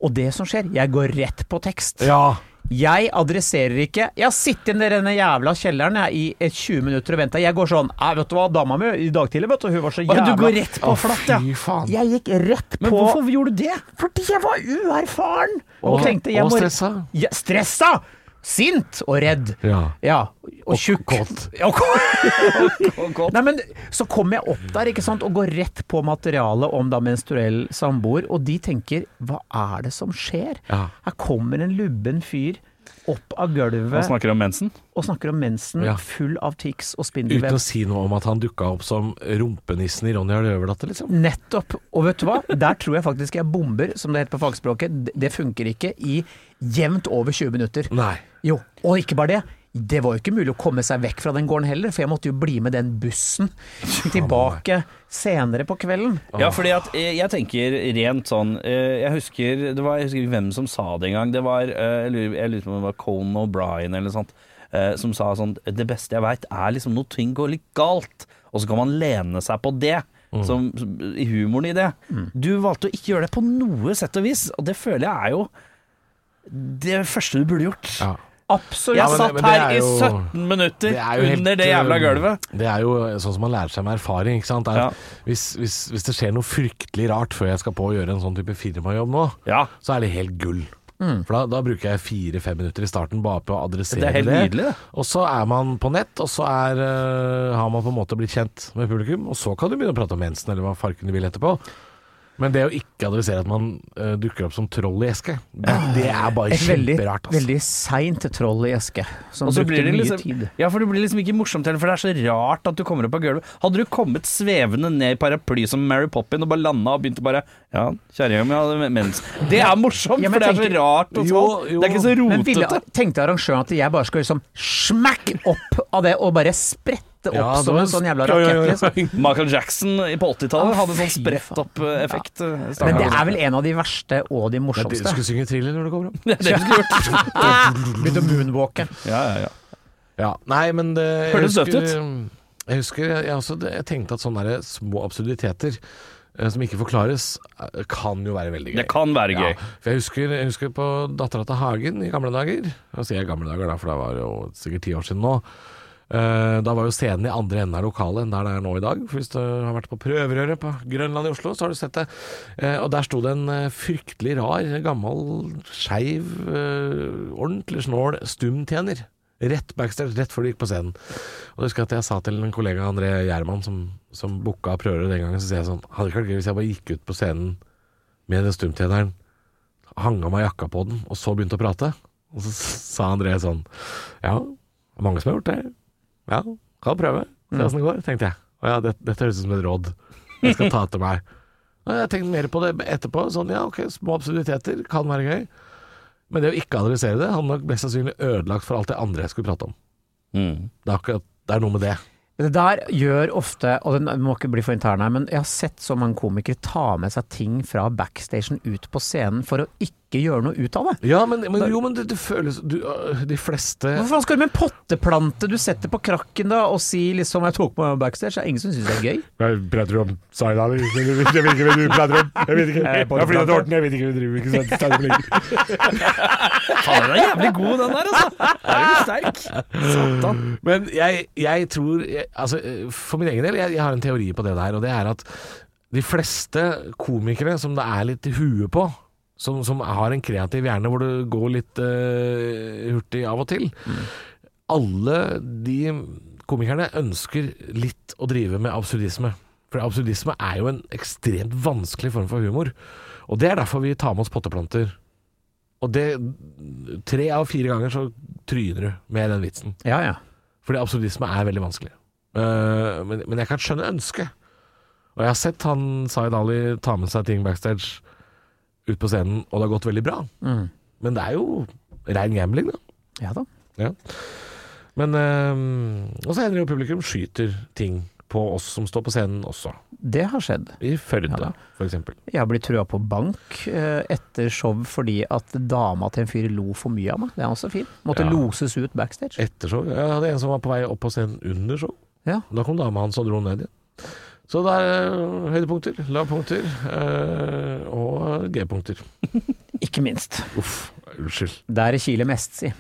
Og det som skjer, jeg går rett på tekst. Ja. Jeg adresserer ikke Jeg har sittet i denne jævla kjelleren jeg, i eh, 20 minutter og venta. Jeg går sånn «Nei, Vet du hva, dama mi i dag tidlig, vet du, hun var så Å, jævla du går rett på Å, flatt, Fy faen. Jeg gikk rett på Men hvorfor gjorde du det? Fordi jeg var uerfaren! Og, tenkte jeg og må- stressa. Ja, stressa! Sint og redd. Ja. Og tjukk. kåt. Ja, og kåt. Nei, men så kom jeg opp der ikke sant, og går rett på materialet om da menstruell samboer, og de tenker hva er det som skjer? Ja. Her kommer en lubben fyr opp av Han gulvet snakker om mensen. og snakker om mensen Ja. full av tics og Uten spindelvev. å si noe om at han dukka opp som rumpenissen i Ronja Røverdatter, liksom. Nettopp. Og vet du hva? Der tror jeg faktisk jeg bomber, som det heter på fagspråket. D- Det funker ikke i jevnt over 20 minutter. Nei. Jo, og ikke bare det. Det var jo ikke mulig å komme seg vekk fra den gården heller, for jeg måtte jo bli med den bussen tilbake senere på kvelden. Ah. Ja, fordi at eh, jeg tenker rent sånn eh, Jeg husker det var, jeg husker ikke hvem som sa det en gang. Det var, eh, jeg lurer jeg lurer på om det var Conan O'Brien eller noe sånt, eh, som sa sånn Det beste jeg veit, er liksom når ting går litt galt, og så kan man lene seg på det. Mm. Som, som- I humoren i det. Du valgte å ikke gjøre det på noe sett og vis, og det føler jeg er jo det første du burde gjort. Ja. Absolutt. Ja, men Jeg det- satt men det her er jo- i 17 minutter Det er jo helt, under det jævla eh, gulvet. Det er jo sånn som man lærer seg med erfaring. Ikke sant? Det Er, Ja. hvis, hvis, hvis det skjer noe fryktelig rart før jeg skal på å gjøre en sånn type firmajobb nå, Ja. så er det helt gull. For da, da bruker jeg fire-fem minutter i starten bare på å adressere Det det. er helt nydelig, det. Og så er man på nett, og så er, eh, har man på en måte blitt kjent med publikum. Og så kan du begynne å prate om mensen eller hva farken du vil etterpå. Men det å ikke adressere at man eh, dukker opp som troll i eske, det, det er bare Et veldig, kjemperart. altså. veldig seint troll i eske, som Og så brukte blir det mye liksom, tid. ja, for det blir liksom ikke morsomt heller, for det er så rart at du kommer opp av gulvet. Hadde du kommet svevende ned i paraply som Mary Poppin og bare landa og begynt å bare Ja, kjerringa mi hadde mens. Det er morsomt, Ja, men for det er så tenker- rart og Jo, sånn. jo. Det er ikke så Men ville, rotete. tenkte arrangøren at jeg bare skal liksom smakk opp av det, og bare sprette opp Ja, det som var- en sånn jævla Oi, oi, rakett? oi. Liksom. Michael Jackson på 80-tallet hadde sånn fy spredt opp-effekt. Men det er vel en av de verste og Det er det de du morsomste. skulle synge thriller når du kommer opp. det du skulle gjort. Begynte å moonwalke. Ja, ja, ja. Ja, nei, men det jeg Hørtes døvt husker- Jeg husker jeg, jeg, også, jeg tenkte at sånne der små absurditeter eh, som ikke forklares, eh, kan jo være veldig gøy. Det kan være gøy. Ja, for jeg husker, jeg husker på dattera til Hagen i gamle dager. Nå sier jeg gamle dager, da, for det var jo sikkert ti år siden nå. Eh, da var jo scenen i andre enden av lokalet enn der det er nå i dag. For hvis du har vært på prøverøret på Grønland i Oslo, så har du sett det. Eh, og der sto det en eh, fryktelig rar, gammel, skeiv, eh, ordentlig snål stumtjener. Rett backstage, rett før du gikk på scenen. Og jeg husker at jeg sa til en kollega, André Gjerman, som, som booka prøverøret den gangen, så sier jeg sånn Hadde det ikke vært gøy hvis jeg bare gikk ut på scenen med den stumtjeneren, hang av meg jakka på den, og så begynte å prate. Og så sa André sånn Ja, det er mange som har gjort det. Ja, kan prøve. Se åssen det går, tenkte jeg. Å ja, det, dette høres ut som et råd. Jeg skal ta til meg. Og jeg tenkte mer på det etterpå. Sånn ja, ok, små absurditeter kan være gøy. Men det å ikke adressere det hadde nok mest sannsynlig ødelagt for alt det andre jeg skulle prate om. Mm. Det er, akkurat, det er noe med det. Det der gjør ofte, og den må ikke bli for intern her, men jeg har sett så mange komikere ta med seg ting fra backstagen ut på scenen for å ikke gjøre noe ut av det. Ja, men, men jo, men det, det føles du, øh, De fleste Hvorfor faen skal du med en potteplante du setter på krakken da, og si liksom 'jeg tok meg backstage'? Det er ingen som syns det er gøy. Jeg prater om Zainal. Jeg vet ikke hva du prater om. Jeg vet ikke. Jeg har flytta til Horten, jeg vet ikke hva du driver med. Ikke sant? Faen, den er jævlig god, den der, altså. Er du sterk? Satan. Men jeg, jeg tror jeg, altså, eh, For min egen del, jeg, jeg har en teori på det der, og det er at de fleste komikere som det er litt i huet på, som, som har en kreativ hjerne hvor det går litt eh, hurtig av og til Alle de komikerne ønsker litt å drive med absurdisme. For absurdisme er jo en ekstremt vanskelig form for humor. Og det er derfor vi tar med oss potteplanter. Og det Tre av fire ganger så tryner du med den vitsen. Ja, ja. Fordi absurdisme er veldig vanskelig. Eh, men, men jeg kan skjønne ønsket. Og jeg har sett han Zaid Ali ta med seg ting backstage ut på scenen, og det har gått veldig bra. Mm. Men det er jo rein gambling, da. Ja da. Men eh, Og så hender det jo publikum skyter ting på på oss som står på scenen også. Det har skjedd. I Førde, Ja. for eksempel. Jeg har blitt trua på bank eh, etter show fordi at dama til en fyr lo for mye av meg. Det er også fint. Måtte Ja. loses ut backstage. Etter show. Jeg hadde en som var på vei opp på scenen under show. Ja. Da kom dama hans og dro ned igjen. Så det er eh, høydepunkter, lavpunkter eh, og G-punkter. Ikke minst. Uff, unnskyld. Der kiler mest, si.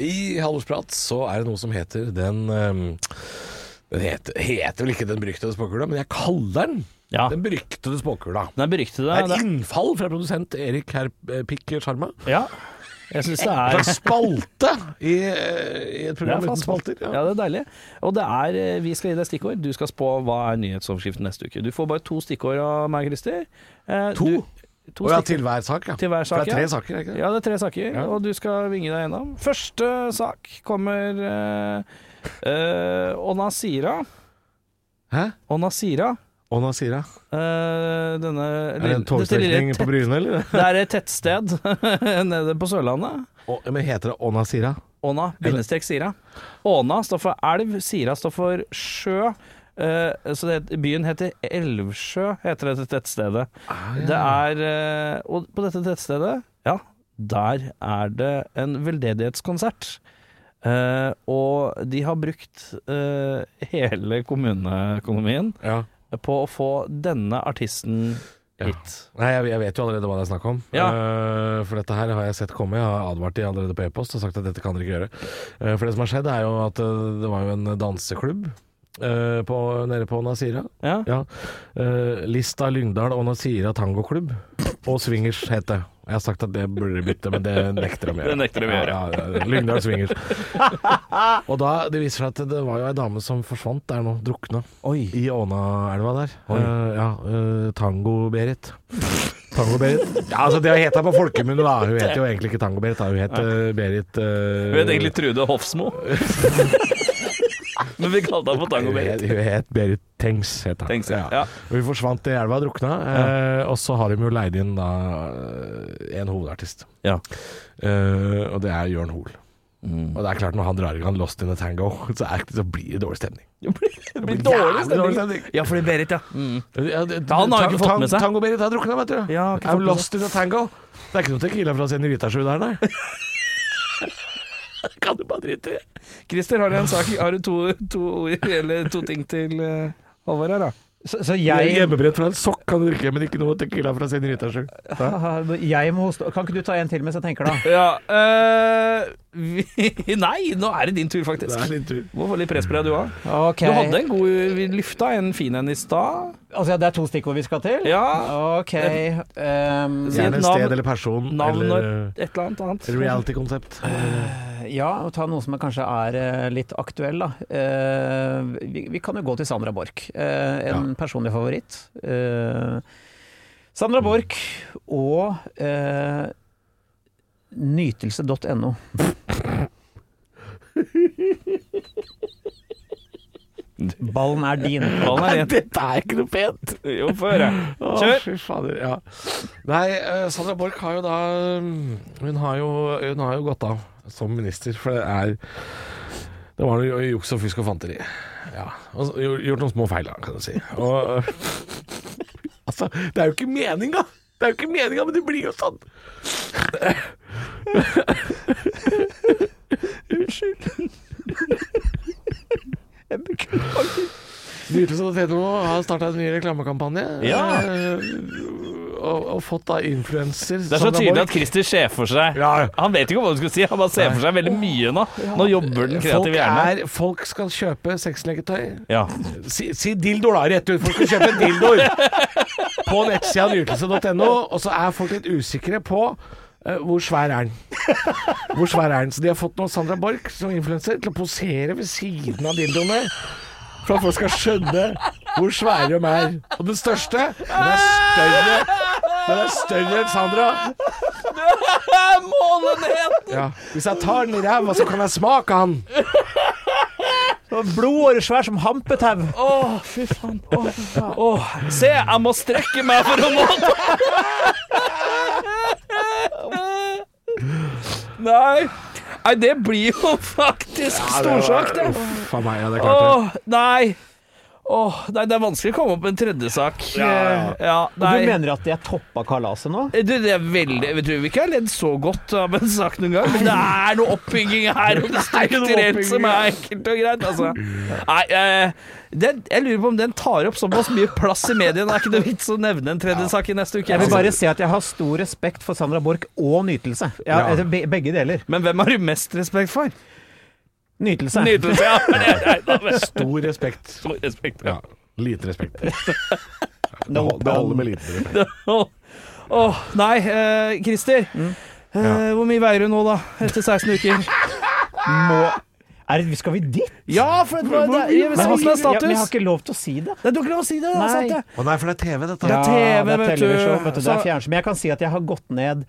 I Halvorsprat så er det noe som heter den ehm, Den heter, heter vel ikke Den beryktede spåkula, men jeg kaller den Ja. Den beryktede spåkula. Den er beryktet. Det Ah. er Det et innfall fra produsent Erik Herp eh, Pikk Sjarma. ja. Jeg syns Eh, det En er slags spalte i, eh, i et Det program er uten fast spalter. Ja, det er deilig. Og det er, eh, vi skal gi deg stikkord. Du skal spå hva er nyhetsoverskriften neste uke. Du får bare to stikkord av meg, Christer. Eh, To? du- to Å ja, stikkord. til hver sak, ja. Til hver sak, For det ja. er tre saker, er det ikke det? Ja, det er tre saker, og du skal vinge deg gjennom. Første sak kommer eh, eh, Onasira. Hæ? Onasira. Og Nasira. eh, denne Er det en togstrekning på Bryne, eller? Det er et tettsted nede på Sørlandet. Å, men heter det Å Nasira? Åna, bindestrek Sira. Åna står for elv, Sira står for sjø. Eh, så det, het- byen heter Elvsjø, heter dette tettstedet. Det er eh, Og på dette tettstedet, ja, der er det en veldedighetskonsert. Eh, og de har brukt eh, hele kommuneøkonomien Ja. på å få denne artisten Ja. hit. Nei, jeg, jeg vet jo allerede hva det er snakk om. Ja. Eh, for dette her har jeg sett komme. Jeg har advart de allerede på e-post og sagt at dette kan dere ikke gjøre. Eh, for det som har skjedd, er jo at eh, det var jo en danseklubb eh, på, nede på Nasira. Ja. Ja. Eh, Lista Lyngdal og Nasira tangoklubb. Og swingers het det. Jeg har sagt at det burde de bytte, men det nekter de å gjøre. Det nekter de å gjøre. Ja, ja, ja. Lyngdal swingers. og da, det viser seg at det var jo ei dame som forsvant der nå, drukna. I Ånaelva der. Eh, ja, eh, Tango-Berit. Tango-Berit. Ja, altså Det het hun på folkemunne, da. Hun het jo egentlig ikke Tango-Berit, da. hun het eh, Berit eh, Trude Hofsmo. Men vi kalte henne for Hun het, hun het Berit Tengs, het hun. Tengs, ja. Ja. Hun forsvant i elva og drukna, eh, og så har de jo leid inn da eh, en hovedartist. Ja. Eh, og det er Jørn Hoel. Mm. Og det er klart når han drar i gang Lost in a Tango, så, er, så blir det dårlig stemning. Det blir, det blir Jævlig dårlig dårlig stemning. stemning. Ja, fordi Berit, ja. Ja, det- Han har jo ikke Tang- fått med seg. Tang- Tango-Berit har drukna, vet du. Ja, har ikke fått I'm med lost in a tango. Det er ikke noe Tequila fra Senoritasju der, nei. Kan du bare drite i det? Christer, har du en sak? Har du to, to, ord, eller to ting til eh, Halvor her, da? Så, så Jeg... jeg, Hjemmebrent fra en sokk kan du drikke, men ikke noe Tequila fra Senoritasju. jeg må hoste Kan ikke du ta en til mens jeg tenker, da? Ja eh, vi, Nei, nå er det din tur, Det faktisk. er din tur. Må få litt press på deg, du òg. Ok. Du hadde en god Vi lufta en fin en i stad. Altså, ja, det er to stikkord vi skal til? Ja. Ok. ehm, Si et Gjerne navn- sted eller person Navn og eller et eller annet annet. eh, reality-konsept. ja, og ta noe som kanskje er eh, litt aktuell, da. Eh, vi, vi kan jo gå til Sandra Borch. Eh, en personlig favoritt. Eh, Sandra Borch og eh, nytelse.no. Ballen er din. Ballen er rent. Dette er ikke noe pent! Jo, få høre. Kjør! Kjør. fy fader, ja. Nei, eh, Sandra Borch har jo da mm, hun har jo, hun har jo gått av som minister, for det er Det var noe juks og fusk og fanteri. Ja. Og så gjort- gjort noen små feil, da, kan du si. Og, altså, det er jo ikke meninga! Det er jo ikke meninga, men det blir jo sånn! Nytelse.no har starta en ny reklamekampanje. Ja. eh, Og, og fått da influenser Det er så tydelig at Christer ser for seg Ja. Han vet ikke hva du skulle si, han bare ser for seg veldig mye nå. Nå jobber den Folk, kreative hjernen. er, folk skal kjøpe sexleketøy. Ja. Si, si dildo, da, rett ut. Folk skal kjøpe dildoer på nettsida nytelse.no, og så er folk litt usikre på eh, hvor svær er den? Hvor svær er den? Så de har fått noen Sandra Borch som influenser til å posere ved siden av dildoene. For at folk skal skjønne hvor svære de er. Og den største, den er større Den er større enn Sandra. Målenheten! Ja. Hvis jeg tar den i ræva, så kan jeg smake han. Blodåre svær som hampetau. Å, fy faen. Å, fy faen. Å, se, jeg må strekke meg for å nå den! Nei. Nei, det blir jo faktisk storsak, det. Uff a meg, ja, det er klart det. Åh, nei. Åh, nei, det er vanskelig å komme opp med en tredje sak. ja, ja. Eh, ja, Du nei. mener at jeg toppa kalaset nå? Du, det er veldig Jeg tror vi ikke har ledd så godt av en sak noen gang, men det er noe oppbygging her og strukturelt som er enkelt og greit, altså. Nei, eh, den, jeg lurer på om den tar opp såpass mye plass i mediene. Det er ikke noe vits å nevne en tredje sak i neste uke. Jeg vil bare si at jeg har stor respekt for Sandra Borch og nytelse. Jeg har- Ja. be- Begge deler. Men hvem har du mest respekt for? Nytelse. Nytelse, ja. Det er- det er- det er Stor respekt. stor respekt. Ja. Lite respekt. Det hol- det holder med liten respekt. Åh, åh, nei, eh, Christer. Eh, Ja. Hvor mye veier du nå, da? Etter 16 uker? Må er det, skal vi dit? Ja, for det var det, jeg, Men jeg, har ikke, jeg, men jeg har status. ikke lov til å si det. Nei, du har ikke lov å si det. det er Nei. sant det. Å nei, for det er TV, dette. Ja. TV, det er vet du. televisjon, vet du. Det Så- er fjernsyn. Men jeg kan si at jeg har gått ned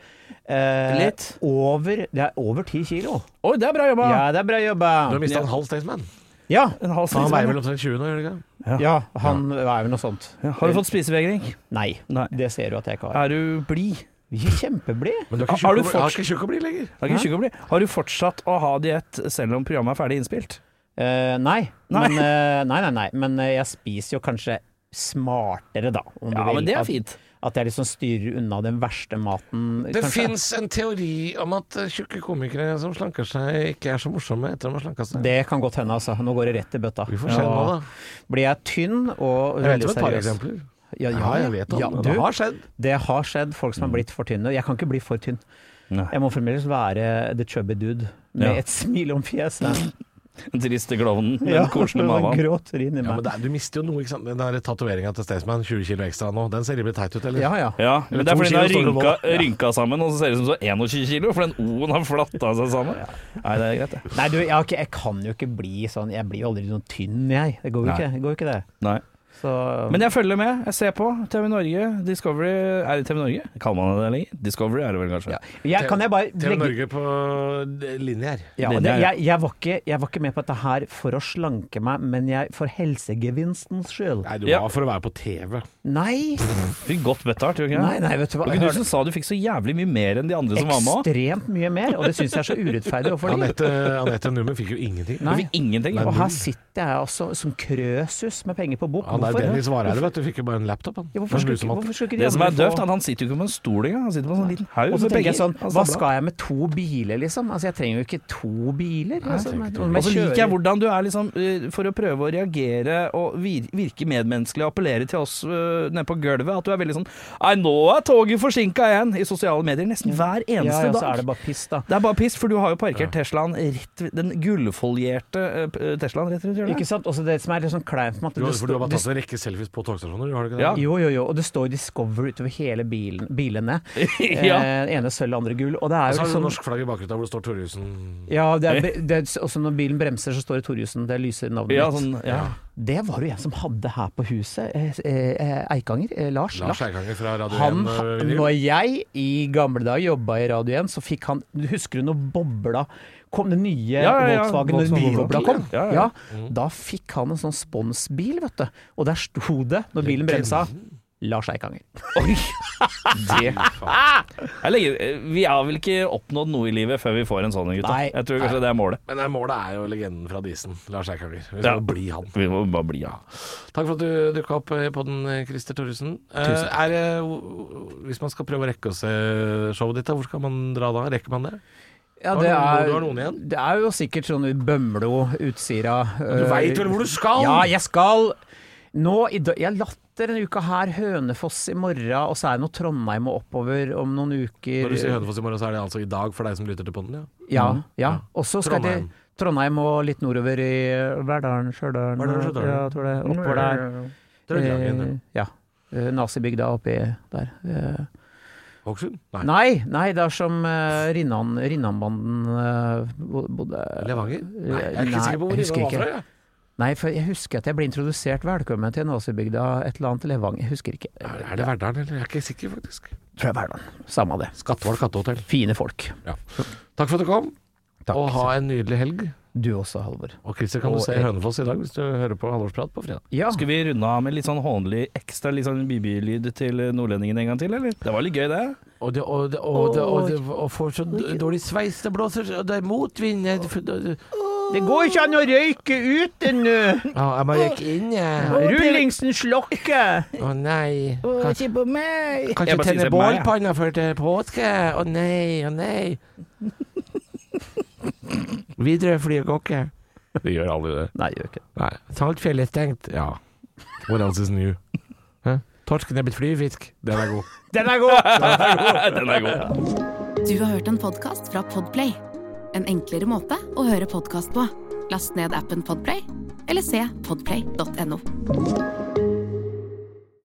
eh, Litt. Over, det er over ti kilo. Oi, det er bra jobba. Ja, det er bra jobba. Du har mista en halv Staysman. Ja, En halv Han snitt, sånn. veier vel omtrent 20 nå, gjør han ikke? det? ja han er vel noe sånt. Ja, Har du fått spisevegring? Nei, Nei. det ser du at jeg ikke har. Er du blid? Kjempeblid. Men du er Har- ikke har du tjukk å bli- fått- er ikke tjukk å bli lenger. Er ikke tjukk å bli? Har du fortsatt å ha diett selv om programmet er ferdig innspilt? Eh, nei. Nei. Men, eh, nei, nei, nei. Men eh, jeg spiser jo kanskje smartere, da. Om du vil. At- fint. At jeg liksom styrer unna den verste maten. Det kanskje. fins en teori om at eh, tjukke komikere som slanker seg, ikke er så morsomme etter at de har slanka seg. Det kan godt hende, altså. Nå går det rett i bøtta. Vi får se nå, da. Blir jeg tynn og Jeg vet veldig om et par seriøs. eksempler. Ja, ja, Ja, jeg vet om ja, det. du, Det har Mm. skjedd. det har skjedd. Folk som er blitt for tynne. Jeg kan ikke bli for tynn. Nei. Jeg må fremdeles være the chubby dude med Ja. et smil om fjeset. Den triste klovnen, den Ja, koselige og en mammaen. grå tryne i Ja, men meg. det, er- du mister jo noe, ikke sant. Den der tatoveringa til Staysman, 20 kilo ekstra nå, den ser rimelig teit ut, eller? Ja, ja. Ja, men det er To fordi den har kilo rynka, store boller. Ja. rynka sammen, og så ser det ut som så 21 kilo, for den O-en har flatta seg sammen. Nei, det er greit, det. Nei, du, jeg, har ikke, jeg kan jo ikke bli sånn Jeg blir jo aldri noen tynn, jeg. Det går jo Nei. ikke, det går jo ikke det. Nei. Så, Men jeg følger med, jeg ser på. TV Norge, Discovery Er det TV Norge? Kaller man det det lenger? Discovery er det vel kanskje? jeg, kan jeg bare TV legge Norge på eh, linje her. ja, det, Linja, ja. jeg, jeg, var ikke, jeg var ikke med på dette her for å slanke meg, men jeg, for helsegevinstens skyld. Nei, du Ja. var for å være på TV. Nei! Fikk godt betalt, gjorde du Nei, ikke det? nei, vet du hva. Var ikke du som sa du fikk så jævlig mye mer enn de andre som var med òg? Ekstremt mye mer, og det syns jeg er så urettferdig overfor dem. Anette, Anette Numme fikk jo ingenting. Nei. Du fikk ingenting. Og her sitter jeg altså som krøsus med penger på bok. Han er Hvorfor? Dennis Vareide, vet du. Fikk jo bare en laptop, han. Ja, hvorfor En skulle ikke, lusematte. hvorfor skulle ikke de Det som er andre få- døvt, er at han sitter jo ikke på en stol engang. Han sitter på en sånn liten haug. Og så med tenker jeg penger. sånn, Han hva samler. skal jeg med to biler, liksom? Altså, jeg trenger jo ikke to biler. Altså, men, men Og så kjører- liker jeg hvordan du er liksom eh, For å prøve å reagere og vir virke medmenneskelig og appellere til oss eh, nede på gulvet, at du er veldig sånn Nei, nå er toget forsinka igjen! I sosiale medier nesten hver eneste ja, ja, så er dag. det bare piss, da. Det er bare piss, for du har jo parkert Teslaen rett ved Den gullfolierte eh, p- eh, Teslaen rett rundt Ikke hjørnet. sant? Også det som er litt sånn kleint med at Du, det har- for du har står- bare det tatt en rekke selfies på togstasjoner, har du ikke det? Ja. Jo, jo, jo, og det står Discover utover hele bilen, bilene. ja. Eh, ene sølv, andre gull. Og det er Og så jo har du liksom norsk flagg i bakgrunnen hvor det står Torjussen ja, det er, det er, også når bilen bremser, så står det Torjussen. Det lyser navnet ja, mitt. sånn, ja. Det var jo jeg som hadde her på huset. eh, eh, Eikanger. Eh, Lars. Lars Eikanger fra Radio Han, 1. eh, når jeg i gamle dager jobba i Radio 1, så fikk han du Husker du når bobla kom? Den nye Ja, ja, ja. Volkswagen, når Volkswagen bilbobla Bobla. kom? Ja, ja. Mm. Da fikk han en sånn sponsbil, vet du. Og der sto det, når bilen bremsa Lars Eikanger. Oi! Det jeg legger, eh, Vi har vel ikke oppnådd noe i livet før vi får en sånn, gutta. Nei. Jeg tror kanskje det er målet. Men eh, målet er jo legenden fra Disen, Lars Eikanger. Vi Ja. skal bli han. Vi må bare bli av. Takk for at du dukka opp eh, på den, eh, Christer Thoresen. Eh, er det- hvor- Hvis man skal prøve å rekke å se showet ditt, da, hvor skal man dra da? Rekker man det? Ja, Har det du noen- er, du har noen igjen? det er jo sikkert sånn i Bømlo, Utsira Du eh, veit vel hvor du skal? Ja, jeg skal nå i dag Jeg latter denne uka her. Hønefoss i morgen, og så er det noe Trondheim og oppover om noen uker. Når du sier Hønefoss i morgen, så er det altså i dag for deg som lytter til podden, ja? Ja, ja. Og så skal jeg Trondheim. til Trondheim og litt nordover i Verdalen, Stjørdal Verdalen, Stjørdal. Ja, jeg tror det. Oppover der. Trøndelagen, Eh, ja. Eh, Nazibygda oppi der. Eh, Hokksund? Nei. Nei, nei, det er som eh, Rinnan, Rinnanbanden eh, bo- bodde Levanger? Eh, Nei, jeg er ikke Nei, sikker på hvor jeg husker Ida var ikke. fra. jeg. Nei, for jeg husker at jeg ble introdusert velkommen til Nazibygda, et eller annet Levanger, jeg husker ikke. Er er det Verdalen, eller? Jeg er ikke sikker, faktisk. Tror jeg Verdalen. Samme det. Skatval kattehotell. Fine folk. Takk for at du kom, Takk. og ha en nydelig helg. Du også, Halvor. Og Christer kan du Og se Erik. Hønefoss i dag, hvis du hører på Halvorsprat på fredag. Ja. Skal vi runde av med litt sånn hånlig ekstra litt sånn bibilyd til nordlendingen en gang til, eller? Det var litt gøy, det. Og det, og det, og det, og det og får så dårlig sveis, det blåser, og det er motvind jeg- Det går ikke an å røyke uten uh, Ja, Jeg må røyke inn, jeg. rullingsen slokker! Å nei. Kan, Ikke på meg! kan Jeg ikke bare tenne sier meg, ja. bålpanna før til påske. Å nei, å nei. Widerøe flyr går ikke. Det gjør aldri det. Nei, gjør ikke det. Nei. Saltfjellet er stengt. Ja. What else is new? Hæ? Torsken er blitt flyfisk. Den er god. Den er god! Den er god. Du har hørt en podcast fra Podplay. En enklere måte å høre podcast på. Last ned appen Podplay, eller se podplay.no.